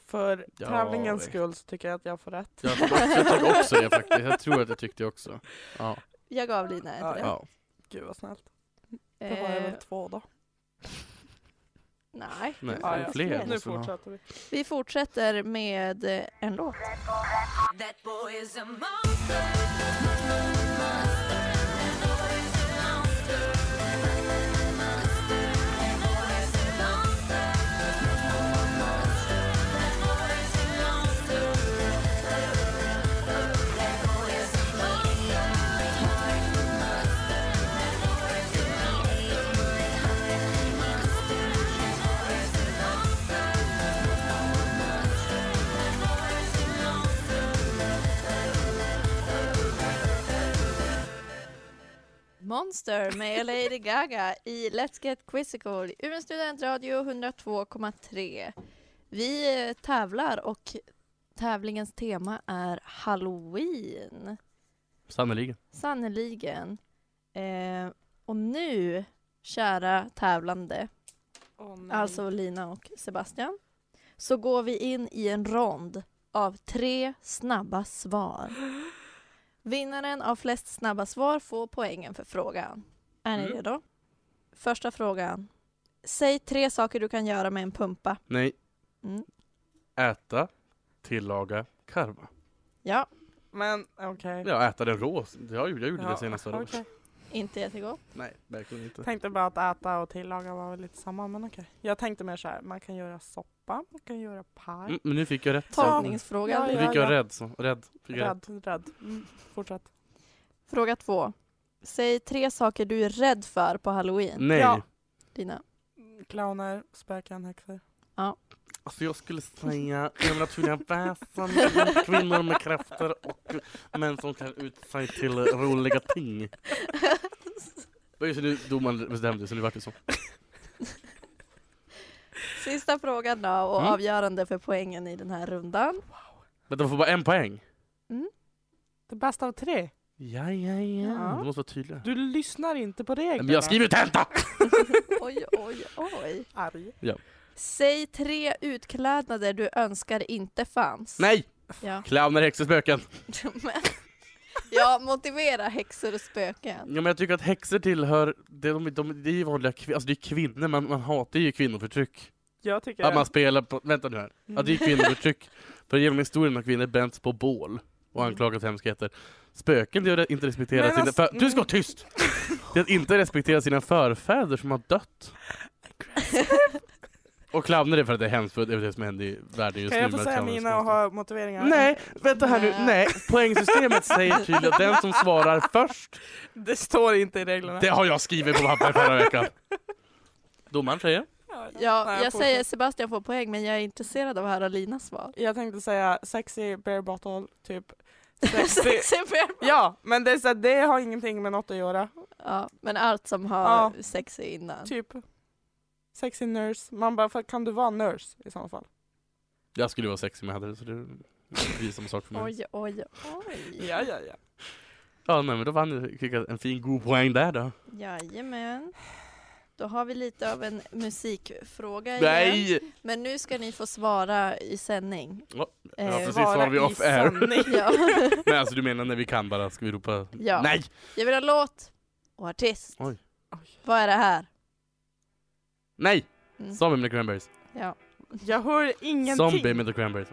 Speaker 4: För
Speaker 3: Ja,
Speaker 4: tävlingens
Speaker 3: visst.
Speaker 4: skull så tycker jag att jag får rätt.
Speaker 3: jag, tror också, jag tycker också det faktiskt. Jag tror att jag tyckte det också. Ja.
Speaker 2: Jag gav Lina ett
Speaker 4: Ja,
Speaker 2: rätt.
Speaker 3: ja.
Speaker 4: Gud vad snällt. Då har jag
Speaker 2: Eh,
Speaker 4: väl två då.
Speaker 2: nej.
Speaker 3: Nej,
Speaker 4: Ja,
Speaker 2: ja.
Speaker 3: fler
Speaker 2: Nu
Speaker 3: måste
Speaker 4: Nu
Speaker 3: man ha.
Speaker 4: fortsätter vi.
Speaker 2: Vi fortsätter med eh, en låt.
Speaker 5: That boy is a monster.
Speaker 2: Monster med Lady Gaga i Let's Get Quizzical, Umeå studentradio 102,3. Vi eh, tävlar och tävlingens tema är Halloween.
Speaker 3: Sannerligen.
Speaker 2: Sannerligen. Eh, och nu, kära tävlande,
Speaker 3: Mm.
Speaker 2: alltså Lina och Sebastian, så går vi in i en rond av tre snabba svar. Vinnaren av flest snabba svar får poängen för frågan. Är ni
Speaker 3: Mm.
Speaker 2: redo? Första frågan. Säg tre saker du kan göra med en pumpa.
Speaker 3: Nej.
Speaker 2: Mm.
Speaker 3: Äta, tillaga, karva.
Speaker 2: Ja,
Speaker 4: Men okej.
Speaker 3: Ja, äta den rå. Jag, jag gjorde
Speaker 4: Ja,
Speaker 3: det senast förra året.
Speaker 4: okej.
Speaker 2: Inte jättegott.
Speaker 3: Nej, verkligen inte.
Speaker 4: Tänkte bara att äta och tillaga var väl lite samma, men okej. Jag tänkte mer så här, man kan göra soppa, man kan göra paj.
Speaker 3: Mm, men nu fick jag rätt. så.
Speaker 2: Tolkningsfråga.
Speaker 3: Nu
Speaker 4: Ja,
Speaker 3: fick
Speaker 4: ja.
Speaker 3: jag rädd. Så. Rädd. Fick jag rätt.
Speaker 4: Rädd, rädd. Mm. Fortsätt.
Speaker 2: Fråga två. Säg tre saker du är rädd för på halloween.
Speaker 3: Nej.
Speaker 4: Ja.
Speaker 2: Dina.
Speaker 4: Clowner, spöken, häxor.
Speaker 3: Alltså jag skulle säga övernaturliga väsen, kvinnor med krafter och män som kan ut sig till roliga ting. Och Just nu domaren bestämde så nu vart det så.
Speaker 2: Sista frågan då och
Speaker 3: Mm.
Speaker 2: avgörande för poängen i den här rundan.
Speaker 3: Vänta, man får bara en poäng?
Speaker 4: Det bästa av tre.
Speaker 3: Ja, ja, ja.
Speaker 2: Ja.
Speaker 3: Du måste vara tydligare.
Speaker 4: Du lyssnar inte på reglerna.
Speaker 3: Men jag skriver tenta!
Speaker 2: Oj, oj, oj.
Speaker 4: Arg.
Speaker 2: Säg tre utklädnader du önskar inte fanns.
Speaker 3: Nej!
Speaker 2: Ja,
Speaker 3: Clowner, häxor, spöken.
Speaker 2: men, ja motivera häxor och spöken.
Speaker 3: Ja, men jag tycker att häxor tillhör, det, de, de, det är ju vanliga kvi- alltså det är kvinnor, man, man hatar ju kvinnoförtryck.
Speaker 4: Jag tycker... Mm.
Speaker 3: Att man spelar på, vänta nu här, att det är kvinnoförtryck. För genom historien har kvinnor bränts på bål och anklagats för hemskheter. Spöken det är att inte respektera
Speaker 4: Mm. Men
Speaker 3: sina...
Speaker 4: alltså-
Speaker 3: för, du ska vara tyst! Det är att inte respektera sina förfäder som har dött. Och clowner är för att det är hemskt, för det är det som händer i världen just
Speaker 4: kan
Speaker 3: nu.
Speaker 4: jag få
Speaker 3: med
Speaker 4: säga
Speaker 3: clowner
Speaker 4: mina och
Speaker 3: skapar.
Speaker 4: ha motiveringar?
Speaker 3: Nej, vänta här nu.
Speaker 2: Nej.
Speaker 3: Nej, poängsystemet säger tydligt att den som svarar först,
Speaker 4: Det står inte i reglerna.
Speaker 3: det har jag skrivit på papper förra veckan. Domaren säger?
Speaker 2: Ja,
Speaker 4: Nej,
Speaker 2: jag
Speaker 4: fortsätt.
Speaker 2: säger Sebastian får poäng men jag är intresserad av att höra Linas svar.
Speaker 4: Jag tänkte säga sexy bare bottle, typ. Sexy.
Speaker 2: Sexy bear-
Speaker 4: ja, men det, är så här, det har ingenting med något att göra.
Speaker 2: ja, men allt som har
Speaker 4: Ja.
Speaker 2: sexy innan.
Speaker 4: Typ. Sexy nurse. Man bara, "Fan, kan du vara nurse i sådana fall?
Speaker 3: Jag skulle vara sexig med hade så det blir samma sak för mig.
Speaker 2: Oj, oj, oj.
Speaker 4: ja, ja.
Speaker 3: Ja, nej, men då vann jag fick jag en fin god poäng där då.
Speaker 2: Jajamän. Då har vi lite av en musikfråga igen.
Speaker 3: Nej!
Speaker 2: Men nu ska ni få svara i sändning.
Speaker 3: Ja,
Speaker 2: Eh,
Speaker 3: precis, svarar vi off air.
Speaker 2: ja.
Speaker 3: Men alltså du menar när vi kan bara, ska vi ropa
Speaker 2: Ja.
Speaker 3: nej?
Speaker 2: Jag vill ha låt och artist.
Speaker 3: Oj.
Speaker 4: Oj.
Speaker 2: Vad är det här?
Speaker 3: Nej!
Speaker 2: Mm.
Speaker 3: Zombie med the cranberries.
Speaker 2: Ja.
Speaker 4: Jag hör ingenting.
Speaker 3: Zombie med the cranberries.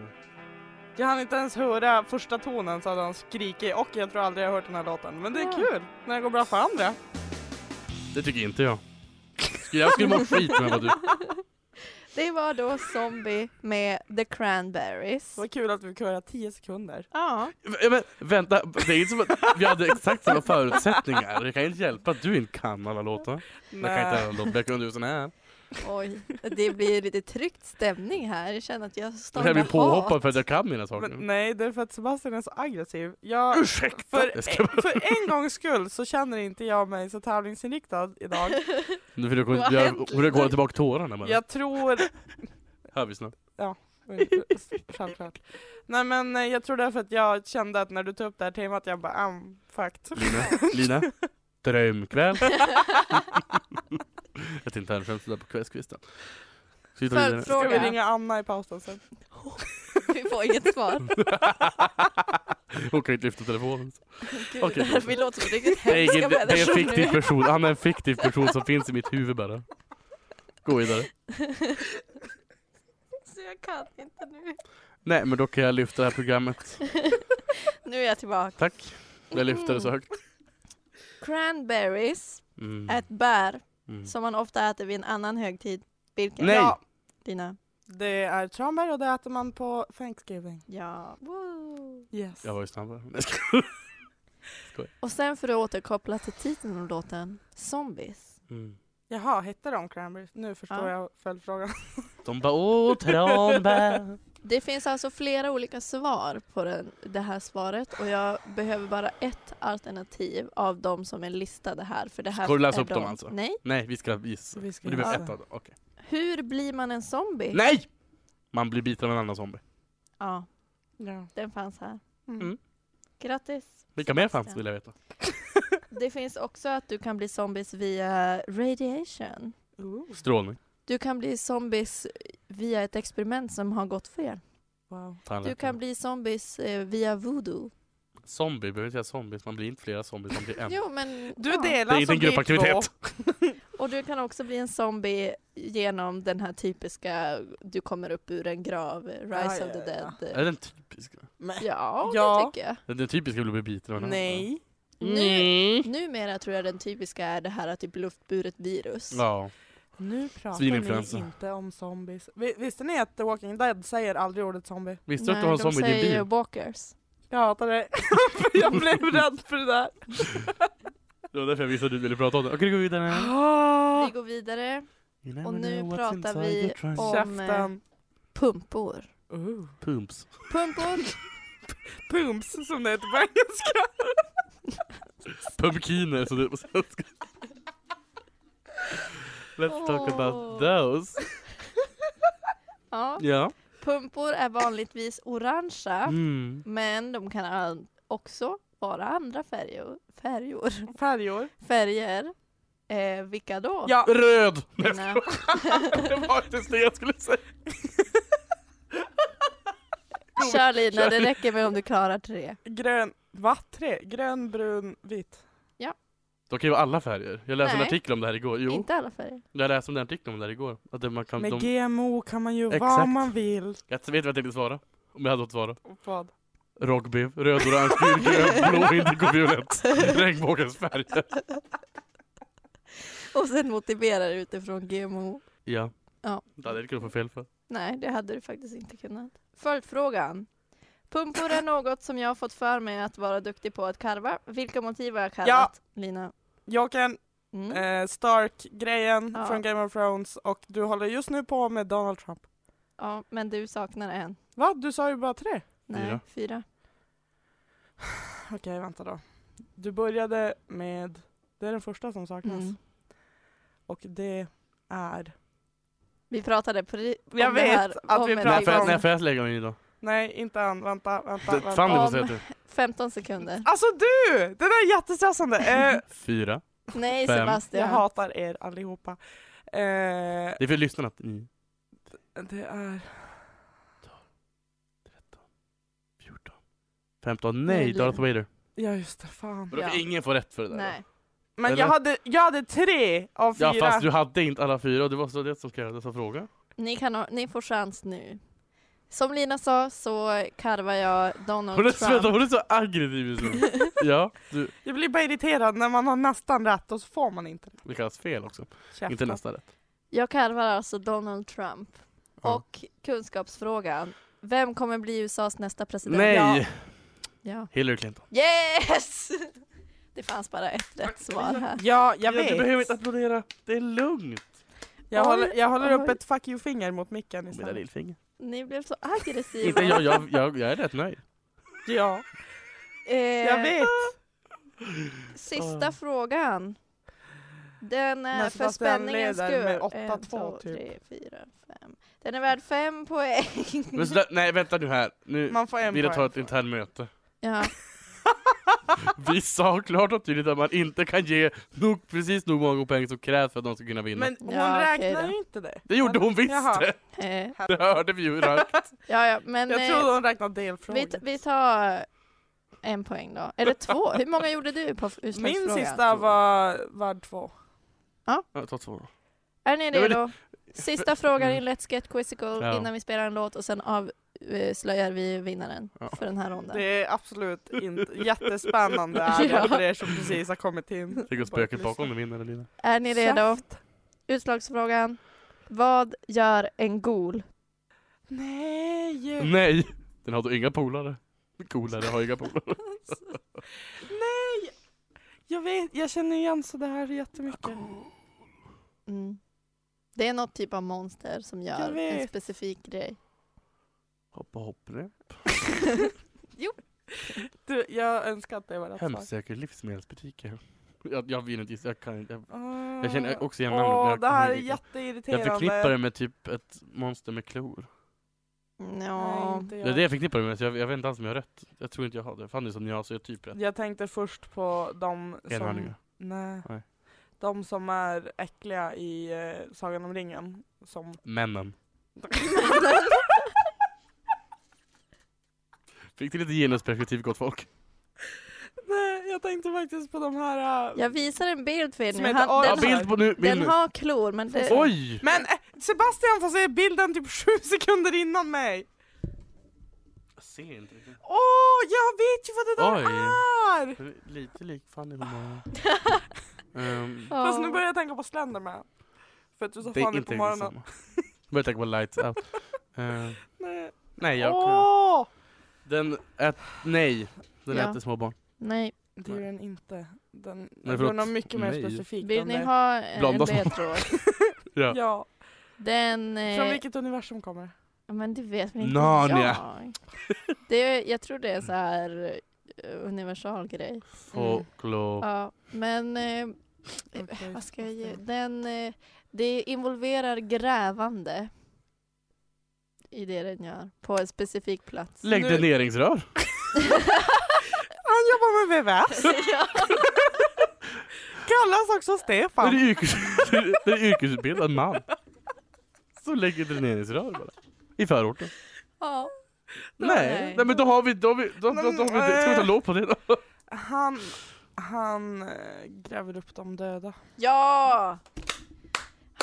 Speaker 4: Jag hann inte ens höra första tonen så hade han skrikit och jag tror aldrig jag har hört den här låten. Men det är
Speaker 2: Ja.
Speaker 4: kul när det går bra för andra.
Speaker 3: Det tycker inte jag. Skulle- Jag skulle må skit med vad du...
Speaker 2: Det var då Zombie med The Cranberries.
Speaker 4: Vad kul att vi fick höra 10 sekunder.
Speaker 2: Ja.
Speaker 3: Ja, Men, vänta, det är inte som att vi hade exakt samma förutsättningar. Det kan inte hjälpa att du inte kan alla låtar. Jag kan inte alla låtar, jag kunde ju sån här.
Speaker 2: Oj, det blir lite tryckt stämning här. Jag känner att jag
Speaker 3: Jag
Speaker 2: startar
Speaker 3: kan bli påhoppad
Speaker 2: hat.
Speaker 3: för att jag kan mina saker.
Speaker 4: Men, nej, det är för att Sebastian är så aggressiv. Jag,
Speaker 3: Ursäkta!
Speaker 4: för,
Speaker 3: Jag ska bara-
Speaker 4: för en gångs skull så känner inte jag mig så tävlingsinriktad idag.
Speaker 3: Nu får du gå-
Speaker 2: Vad
Speaker 3: jag-
Speaker 2: händer?
Speaker 3: får du gå tillbaka tårarna bara.
Speaker 4: Jag tror...
Speaker 3: Hör vi snabbt.
Speaker 4: Självklart. Nej men eh, jag tror därför att jag kände att när du tog upp det här temat, jag bara um, fucked.
Speaker 3: Lina, Lina. Drömkväll. Ett internskämt där på kvällskvisten. Ska vi ta vidare?
Speaker 2: Följdfråga.
Speaker 4: Ska vi ringa Anna i pausen sen?
Speaker 2: Vi får inget svar.
Speaker 3: Hon kan ju inte lyfta telefonen.
Speaker 2: Gud,
Speaker 3: Okej.
Speaker 2: Vi låter som riktigt
Speaker 3: Det är,
Speaker 2: hemska
Speaker 3: ingen, det det är en
Speaker 2: människor
Speaker 3: fiktiv
Speaker 2: nu.
Speaker 3: person. Han är en fiktiv person som finns i mitt huvud bara. Gå vidare.
Speaker 2: Så jag kan inte nu.
Speaker 3: Nej, men då kan jag lyfta det här programmet.
Speaker 2: Nu är jag tillbaka.
Speaker 3: Tack. Jag lyfter det så högt.
Speaker 2: Cranberries
Speaker 3: Mm.
Speaker 2: är ett bär
Speaker 3: Mm.
Speaker 2: som man ofta äter vid en annan högtid. Vilken?
Speaker 3: Nej.
Speaker 2: Ja, Dina.
Speaker 4: Det är tranbär och det äter man på Thanksgiving.
Speaker 2: Ja. Woo.
Speaker 4: Yes.
Speaker 3: Jag var ju snabbare. Nej, jag skojar.
Speaker 2: Och sen för att återkoppla till titeln av låten, Zombies.
Speaker 3: Mm.
Speaker 4: Jaha, hette de cranberries? Nu förstår
Speaker 2: Ja.
Speaker 4: jag följdfrågan.
Speaker 3: De bara åh tranbär.
Speaker 2: Det finns alltså flera olika svar på den, det här svaret och jag behöver bara ett alternativ av de som är listade här. För det här
Speaker 3: Ska du läsa
Speaker 2: är
Speaker 3: upp dem alltså?
Speaker 2: Nej.
Speaker 3: Nej, vi ska gissa.
Speaker 4: Vi ska
Speaker 3: Och det blev
Speaker 4: gissa.
Speaker 3: ett av dem. Okej.
Speaker 2: Hur blir man en zombie?
Speaker 3: Nej! Man blir biten av en annan zombie.
Speaker 2: Ja,
Speaker 4: Ja.
Speaker 2: den fanns här.
Speaker 4: Mm.
Speaker 3: Mm.
Speaker 2: Grattis!
Speaker 3: Vilka mer fanns vill jag veta?
Speaker 2: Det finns också att du kan bli zombies via radiation.
Speaker 4: Ooh,
Speaker 3: Strålning.
Speaker 2: Du kan bli zombies via ett experiment som har gått fel.
Speaker 4: wow.
Speaker 2: Du
Speaker 3: Tandläkare.
Speaker 2: kan bli zombies eh, via voodoo.
Speaker 3: Zombie behöver inte säga zombies, man blir inte flera zombies, man blir en.
Speaker 2: Jo, men...
Speaker 4: Du
Speaker 2: ja.
Speaker 3: det
Speaker 4: delar
Speaker 3: är inte en
Speaker 4: som blir
Speaker 3: gruppaktivitet!
Speaker 4: två.
Speaker 2: Och du kan också bli en zombie genom den här typiska du kommer upp ur en grav, eh, Rise
Speaker 4: Ja, ja,
Speaker 2: of the
Speaker 4: ja.
Speaker 2: Dead.
Speaker 3: Är den typiska?
Speaker 2: Ja, det
Speaker 4: Ja.
Speaker 2: tycker jag.
Speaker 3: Den typiska blir biten av en annan.
Speaker 4: Nej.
Speaker 2: Nu, numera tror jag den typiska är det här typ luftburet virus.
Speaker 3: Ja.
Speaker 4: Nu pratar
Speaker 3: Svininfluensa.
Speaker 4: ni inte om zombies. Vi- Visste ni att The Walking Dead säger aldrig ordet zombie?
Speaker 3: Visste du att
Speaker 2: Nej,
Speaker 3: du har en
Speaker 2: de
Speaker 3: zombie i din
Speaker 2: säger
Speaker 3: bil?
Speaker 2: walkers.
Speaker 4: Jag hatar det. För jag blev rädd för det där.
Speaker 3: Det var därför jag visste att du ville prata om det. Okej, vi går vidare. Ah!
Speaker 2: Vi går vidare.
Speaker 3: You never
Speaker 2: och nu
Speaker 3: know what's
Speaker 2: pratar
Speaker 3: inside
Speaker 2: vi
Speaker 3: your trunk.
Speaker 2: om-
Speaker 4: Käften.
Speaker 2: Pumpor.
Speaker 4: Uh.
Speaker 3: Pumps.
Speaker 2: Pumpor.
Speaker 4: Pumps som det heter på engelska.
Speaker 3: Pumpkiner, så det är på svenska. Let's talk
Speaker 2: Åh.
Speaker 3: about those.
Speaker 2: ja.
Speaker 3: Ja.
Speaker 2: Pumpor är vanligtvis orangea.
Speaker 3: Mm.
Speaker 2: Men de kan an- också vara andra färger. Färger.
Speaker 4: Färjor.
Speaker 2: färger. Eh, vilka då?
Speaker 4: Ja.
Speaker 3: Röd!
Speaker 2: Mina,
Speaker 3: Det var faktiskt det jag skulle säga.
Speaker 2: kör Lina, det räcker med om du klarar tre.
Speaker 4: Grön. Va? Tre? Grön, brun, vit.
Speaker 3: De kan ju vara alla färger. Jag läste en
Speaker 2: Nej.
Speaker 3: artikel om det här igår. Jo,
Speaker 2: Inte alla färger.
Speaker 3: jag läste om den artikeln om det här igår. Att det- man kan,
Speaker 4: Med
Speaker 3: de,
Speaker 4: GMO kan man ju vad
Speaker 3: Exakt.
Speaker 4: man vill.
Speaker 3: jag vet vad jag tänkte svara. Om jag hade fått svara.
Speaker 4: Vad?
Speaker 3: Rockbiff, röd, orange, gul, grön, blå, indigo, violett. Regnbågens färger.
Speaker 2: Och sen motiverar utifrån GMO.
Speaker 3: Ja.
Speaker 2: Ja.
Speaker 3: Det hade jag kunnat få fel för.
Speaker 2: Nej, det hade du faktiskt inte kunnat. Följdfrågan. Pumpor är något som jag har fått för mig att vara duktig på att karva. Vilka motiv har jag karvat? Lina?
Speaker 4: Jag kan
Speaker 2: Mm.
Speaker 4: eh, Stark-grejen
Speaker 2: Ja.
Speaker 4: från Game of Thrones och du håller just nu på med Donald Trump.
Speaker 2: Ja, men du saknar en.
Speaker 4: Va? Du sa ju bara tre.
Speaker 2: Nej,
Speaker 3: Fyra.
Speaker 2: fyra.
Speaker 4: Okej, vänta då. Du började med, det är den första som saknas.
Speaker 2: Mm.
Speaker 4: Och det är...
Speaker 2: Vi pratade pre- om
Speaker 4: Jag
Speaker 2: det
Speaker 4: vet
Speaker 2: här,
Speaker 4: att
Speaker 2: om
Speaker 4: vi
Speaker 2: en
Speaker 4: pratar
Speaker 3: När
Speaker 4: om-
Speaker 3: får,
Speaker 2: gång.
Speaker 3: när får jag lägga mig i då?
Speaker 4: Nej, inte än. Vänta, vänta,
Speaker 3: Det-
Speaker 4: vänta.
Speaker 3: Fanny får
Speaker 2: Om-
Speaker 3: säga du.
Speaker 2: 15 sekunder.
Speaker 4: Alltså du! Det där är jättestressande. Eh,
Speaker 3: Fyra.
Speaker 2: Nej
Speaker 3: Fem.
Speaker 4: jag
Speaker 2: Sebastian.
Speaker 4: hatar er allihopa. Eh,
Speaker 3: Det är för lyssnarna. att- Mm.
Speaker 4: det är...
Speaker 3: 14. 15.
Speaker 2: Nej,
Speaker 3: Nej,
Speaker 2: Lina.
Speaker 3: Darth Vader.
Speaker 4: Ja, just det. Fan.
Speaker 3: Bro,
Speaker 2: Ja.
Speaker 3: Ingen får rätt för det där.
Speaker 2: Nej.
Speaker 4: Men
Speaker 3: Eller?
Speaker 4: jag hade, jag hade tre av fyra.
Speaker 3: Ja fast du hade inte alla fyra och det var så det som krävdes av frågan.
Speaker 2: Ni, kan ha, ni får chans nu. Som Lina sa så karvar jag
Speaker 3: Hon är,
Speaker 2: Donald
Speaker 3: så, vänta,
Speaker 2: Trump.
Speaker 3: hon är så aggressiv just nu. Ja, du,
Speaker 4: Jag blir bara irriterad när man har nästan rätt och så får man inte det.
Speaker 3: det kallas fel också.
Speaker 4: Käften.
Speaker 3: Inte nästa rätt.
Speaker 2: Jag karvar alltså Donald Trump.
Speaker 3: Ja.
Speaker 2: Och kunskapsfrågan. Vem kommer bli USAs nästa president?
Speaker 3: Nej!
Speaker 2: Ja. ja.
Speaker 3: Hillary Clinton.
Speaker 2: Yes! Det fanns bara ett rätt svar här.
Speaker 4: Ja, jag
Speaker 3: Ja,
Speaker 4: vet.
Speaker 3: Du behöver inte applådera. Det är lugnt.
Speaker 4: Jag
Speaker 2: Oj,
Speaker 4: håller, jag håller upp
Speaker 2: oj.
Speaker 4: ett fuck you-finger mot micken
Speaker 3: Med
Speaker 4: istället.
Speaker 3: lillfinger.
Speaker 2: Ni blev så
Speaker 3: Inte
Speaker 2: aggressiva.
Speaker 3: jag, jag, jag, jag är rätt nöjd.
Speaker 4: Ja,
Speaker 2: Eh,
Speaker 4: jag vet. Ah.
Speaker 2: Sista frågan. Den är för
Speaker 4: Men Sebastian
Speaker 2: spänningens
Speaker 4: leder
Speaker 2: skull.
Speaker 4: med 8-2
Speaker 2: En, två,
Speaker 4: typ.
Speaker 2: tre, fyra, fem. Den är värd fem poäng.
Speaker 3: Men så, där- nej vänta nu här. Nu
Speaker 4: Man får en
Speaker 3: vill jag ta
Speaker 4: poäng.
Speaker 3: ett internt möte.
Speaker 2: Ja.
Speaker 3: Vi sa klart och tydligt att man inte kan ge nog, precis nog många poäng som krävs för att de ska kunna vinna.
Speaker 4: Men hon
Speaker 2: Ja, okej
Speaker 4: räknar
Speaker 2: då.
Speaker 4: ju inte det.
Speaker 3: det gjorde hon visst!
Speaker 4: Jaha.
Speaker 2: Eh,
Speaker 3: Det hörde vi ju. Ralf.
Speaker 2: ja, ja, men eh,
Speaker 4: Jag trodde hon räknade
Speaker 2: vi,
Speaker 4: delfrågor.
Speaker 2: t- vi tar en poäng då. Eller två. Hur många gjorde du på f- utslagsfrågan?
Speaker 4: Min sista var värd två.
Speaker 3: Ja, ta två.
Speaker 2: Är ni
Speaker 3: Ja, men
Speaker 2: redo? Sista frågan
Speaker 4: Mm.
Speaker 2: i Let's Get Quizzical
Speaker 3: Ja.
Speaker 2: innan vi spelar en låt och sen avslöjar vi vinnaren
Speaker 3: Ja.
Speaker 2: för den här ronden.
Speaker 4: Det är absolut inte jättespännande
Speaker 2: Ja.
Speaker 4: ja. för er som precis har kommit in.
Speaker 3: Det går spöket bakom den vinner Lina.
Speaker 2: Är ni redo?
Speaker 4: Käft.
Speaker 2: Utslagsfrågan. Vad gör en gol?
Speaker 4: Nej!
Speaker 3: Nej! Den har då inga polare. Coolare har inga polare.
Speaker 4: Nej! Jag vet, jag känner igen så det här jättemycket.
Speaker 2: Mm. Det är något typ av monster som gör en
Speaker 4: vet.
Speaker 2: specifik grej.
Speaker 3: Hoppa hopprep.
Speaker 4: Du, jag önskar att det var rätt svar.
Speaker 3: Hemsäker livsmedelsbutiker. Jag, jag vill inte gissa, jag kan inte. Jag,
Speaker 4: Ah.
Speaker 3: jag känner också igen namnet. men
Speaker 4: Åh,
Speaker 3: jag
Speaker 4: det
Speaker 3: kommer
Speaker 4: här är
Speaker 3: inte ihåg.
Speaker 4: jätteirriterande.
Speaker 3: Jag förknippar det med typ ett monster med klor.
Speaker 2: Ja.
Speaker 4: Nej, inte
Speaker 3: Det är
Speaker 4: jag.
Speaker 3: det jag förknippar det med, så jag, jag vet inte alls om jag har rätt. Jag tror inte jag har det. Fanny som jag, så jag har typ rätt.
Speaker 4: Jag tänkte först på de som,
Speaker 3: Enhörningar.
Speaker 4: nej,
Speaker 3: Nej.
Speaker 4: de som är äckliga i eh, Sagan om ringen. Som...
Speaker 3: Männen. Fick till lite genusperspektiv gott folk.
Speaker 4: nej, jag tänkte faktiskt på de här... eh,
Speaker 2: Jag visar en bild för er
Speaker 4: Som
Speaker 2: nu.
Speaker 4: heter
Speaker 2: Han,
Speaker 4: Adam.
Speaker 3: Ja,
Speaker 2: den,
Speaker 4: bil-
Speaker 3: bild på nu, bild
Speaker 2: den
Speaker 3: nu.
Speaker 2: har klor men det...
Speaker 3: Oj!
Speaker 4: Men eh, Sebastian får se bilden typ sju sekunder innan mig!
Speaker 3: Jag ser inte riktigt.
Speaker 4: Åh, jag vet ju vad det där
Speaker 3: Oj.
Speaker 4: är!
Speaker 3: Lite lik Fanny humör. Ehm,
Speaker 4: Fast nu börjar jag tänka på Slenderman. För att du sa
Speaker 3: det är
Speaker 4: Fanny på
Speaker 3: inte riktigt
Speaker 4: morgonen.
Speaker 3: samma. Börjar tänka på lights out. Ehm,
Speaker 4: Nej.
Speaker 3: nej, jag kan.
Speaker 4: Åh!
Speaker 3: Den ät, nej, den
Speaker 2: Ja. Mm.
Speaker 3: äter små barn.
Speaker 2: Nej,
Speaker 4: Det är den inte. Den, jag tror
Speaker 3: förlåt,
Speaker 4: den har mycket mer
Speaker 3: nej.
Speaker 4: specifikt
Speaker 2: vill
Speaker 4: än
Speaker 2: ni
Speaker 4: det.
Speaker 2: ha eh, en
Speaker 3: Blanda små-
Speaker 2: ledtråd?
Speaker 3: Ja.
Speaker 4: Ja.
Speaker 2: Den... eh,
Speaker 4: Från vilket universum kommer
Speaker 2: Ja, Men det vet väl inte
Speaker 3: Narnia.
Speaker 2: jag. Det är, jag tror det är så här eh, universal grej.
Speaker 3: Folklore.
Speaker 2: Ja, men eh,
Speaker 4: Okej,
Speaker 2: vad ska jag ge?
Speaker 4: okej.
Speaker 2: Den, eh, det involverar grävande i det den gör på en specifik plats.
Speaker 3: Lägg
Speaker 4: Nu-
Speaker 3: dräneringsrör.
Speaker 4: Han jobbar med VVS.
Speaker 2: Ja.
Speaker 4: Kallas också
Speaker 3: Det är
Speaker 4: Stefan.
Speaker 3: yrkes, det är yrkesutbildad man. Som lägger dräneringsrör bara. I förorten.
Speaker 2: ja.
Speaker 3: Nej. nej, men då har vi, då har vi, då, då, då har vi, det. ska vi ta lov på det då?
Speaker 4: Han, han eh, gräver upp de döda.
Speaker 2: Ja!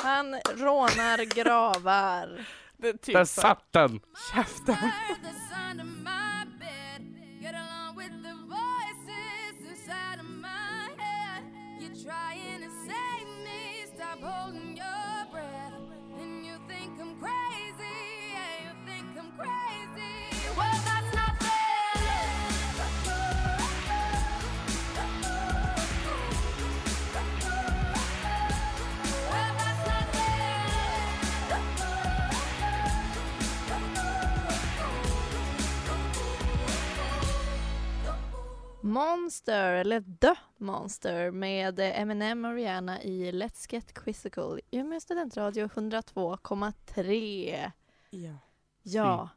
Speaker 2: Han rånar gravar.
Speaker 4: Det är typ
Speaker 3: Där
Speaker 4: så.
Speaker 3: satt den!
Speaker 4: Käften.
Speaker 5: the sound of my bed. Get along with the voices inside of my head. You're trying to save me. Stop holding your breath. And you think I'm crazy. Yeah, you think I'm crazy. Well, that's not
Speaker 2: Monster, eller The Monster med eh, Eminem och Rihanna i Let's Get Quizzical. Umeå studentradio 102,3.
Speaker 4: Ja.
Speaker 2: Ja.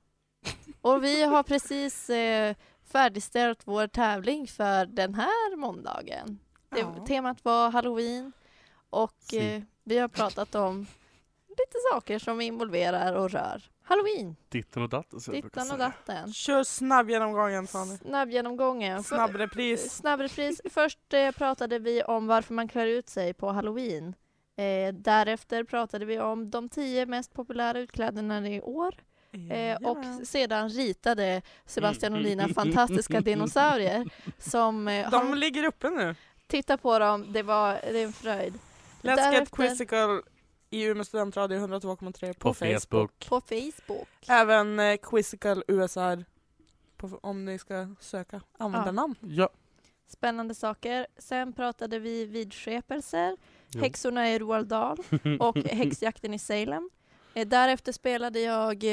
Speaker 2: Och vi har precis eh, färdigställt vår tävling för den här måndagen. Det,
Speaker 4: Ja.
Speaker 2: Temat var halloween och
Speaker 3: Si.
Speaker 2: eh, vi har pratat om lite saker som involverar och rör halloween.
Speaker 3: Ditten och datten som jag brukar
Speaker 2: Dittan och
Speaker 3: säga.
Speaker 2: datten.
Speaker 4: Kör snabb genomgången Fanny.
Speaker 2: Snabb genomgången. För-
Speaker 4: Snabb repris.
Speaker 2: Snabbrepris. Först eh, pratade vi om varför man klär ut sig på halloween. Eh, därefter pratade vi om de tio mest populära utklädnaderna i år. Eh, och sedan ritade Sebastian och Lina fantastiska dinosaurier. Som, eh,
Speaker 4: de
Speaker 2: han,
Speaker 4: ligger uppe nu.
Speaker 2: titta på dem, det var det är en fröjd.
Speaker 4: Let's get
Speaker 2: Därefter-
Speaker 4: quizzical i Umeå studentradio 102,3 på,
Speaker 3: På
Speaker 4: Facebook.
Speaker 3: Facebook.
Speaker 2: På Facebook.
Speaker 4: Även eh, quizzical USR på, om ni ska söka användarnamn.
Speaker 3: Ja.
Speaker 2: Spännande saker. Sen pratade vi vidskepelser,
Speaker 3: Jo.
Speaker 2: häxorna i Roald Dahl och häxjakten i Salem. Eh, Därefter spelade jag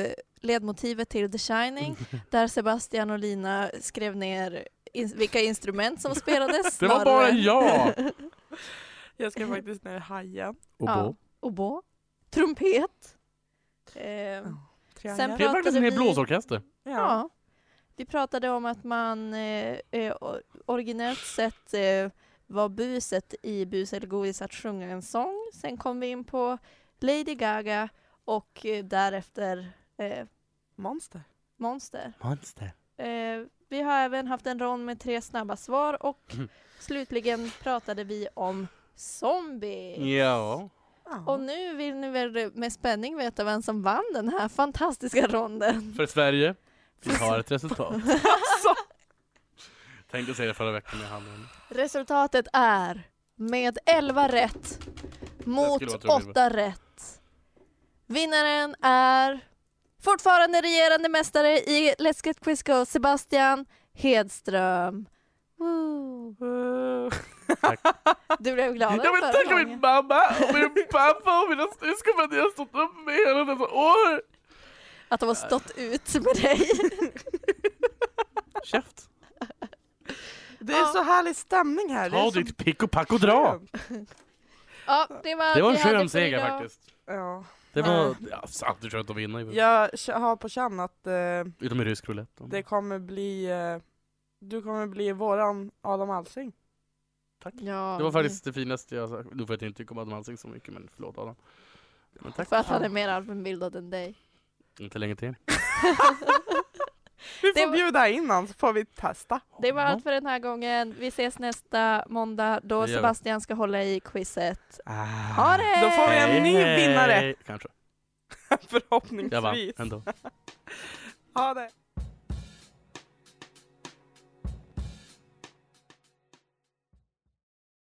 Speaker 2: eh, ledmotivet till The
Speaker 3: Mm.
Speaker 2: Shining där Sebastian och Lina skrev ner in, vilka instrument som spelades.
Speaker 3: Det var bara
Speaker 2: snarare-
Speaker 3: jag!
Speaker 4: Jag ska faktiskt ner i hajen.
Speaker 3: Och
Speaker 2: Ja.
Speaker 3: bo.
Speaker 2: Obo, trumpet. Eh,
Speaker 4: Triangel.
Speaker 2: Sen
Speaker 3: Det är faktiskt en hel
Speaker 2: vi-
Speaker 3: blåsorkester.
Speaker 4: ja.
Speaker 2: ja. Vi pratade om att man eh, eh, or- originellt sett eh, var buset i Bus eller godis att sjunga en sång. Sen kom vi in på Lady Gaga och eh, därefter eh,
Speaker 4: Monster.
Speaker 2: Monster.
Speaker 3: Monster.
Speaker 2: Eh, vi har även haft en rond med tre snabba svar och
Speaker 3: Mm.
Speaker 2: slutligen pratade vi om zombies.
Speaker 3: Ja.
Speaker 2: Och nu vill ni väl med spänning veta vem som vann den här fantastiska ronden?
Speaker 3: För Sverige. Vi har ett resultat. Tänkte säga det förra veckan när jag hann in.
Speaker 2: Resultatet är med 11 rätt
Speaker 3: skulle vara
Speaker 2: mot
Speaker 3: tråkigt.
Speaker 2: 8 rätt. Vinnaren är fortfarande regerande mästare i Let's Get Quiz Go, Sebastian Hedström. Woo.
Speaker 4: Uh,
Speaker 2: Du blev gladare
Speaker 3: Jag vill
Speaker 2: förra
Speaker 3: tacka
Speaker 2: gången.
Speaker 3: min mamma och min pappa och mina syskon för att ni har stått upp med mig hela detta år.
Speaker 2: Att de har stått ut med dig.
Speaker 3: Käft.
Speaker 4: det är så härlig stämning här. det är
Speaker 3: Ta
Speaker 4: så
Speaker 3: ditt pick och pack och dra.
Speaker 4: skönt.
Speaker 2: Ja, det var,
Speaker 3: Det var en
Speaker 2: vi hade
Speaker 3: skön
Speaker 2: för
Speaker 3: seger
Speaker 2: idag.
Speaker 3: faktiskt.
Speaker 4: Ja.
Speaker 3: Det var ja, alltid skönt att vinna. ju.
Speaker 4: Jag k- har på känn att eh,
Speaker 3: Utom i rysk roulette.
Speaker 4: det kommer bli eh, du kommer bli våran Adam Alsing.
Speaker 2: Ja,
Speaker 3: Det var faktiskt det finaste jag har sagt. Nu får jag inte tycka om Adam Alsing så mycket, men förlåt Adam. Men tack.
Speaker 2: För att han är mer allmänbildad än dig.
Speaker 3: Inte länge till.
Speaker 4: Vi
Speaker 2: Det
Speaker 4: får
Speaker 2: var-
Speaker 4: bjuda in honom så får vi testa.
Speaker 2: Det var
Speaker 3: Ja.
Speaker 2: allt för den här gången. Vi ses nästa måndag
Speaker 3: Det
Speaker 2: då
Speaker 3: gör vi.
Speaker 2: Sebastian ska hålla i quizet. Ha
Speaker 3: Ah.
Speaker 2: det!
Speaker 4: Då får vi en ny
Speaker 3: Hej, hej.
Speaker 4: vinnare.
Speaker 3: Kanske. Jag vann
Speaker 4: Förhoppningsvis.
Speaker 3: ändå.
Speaker 4: Ha det.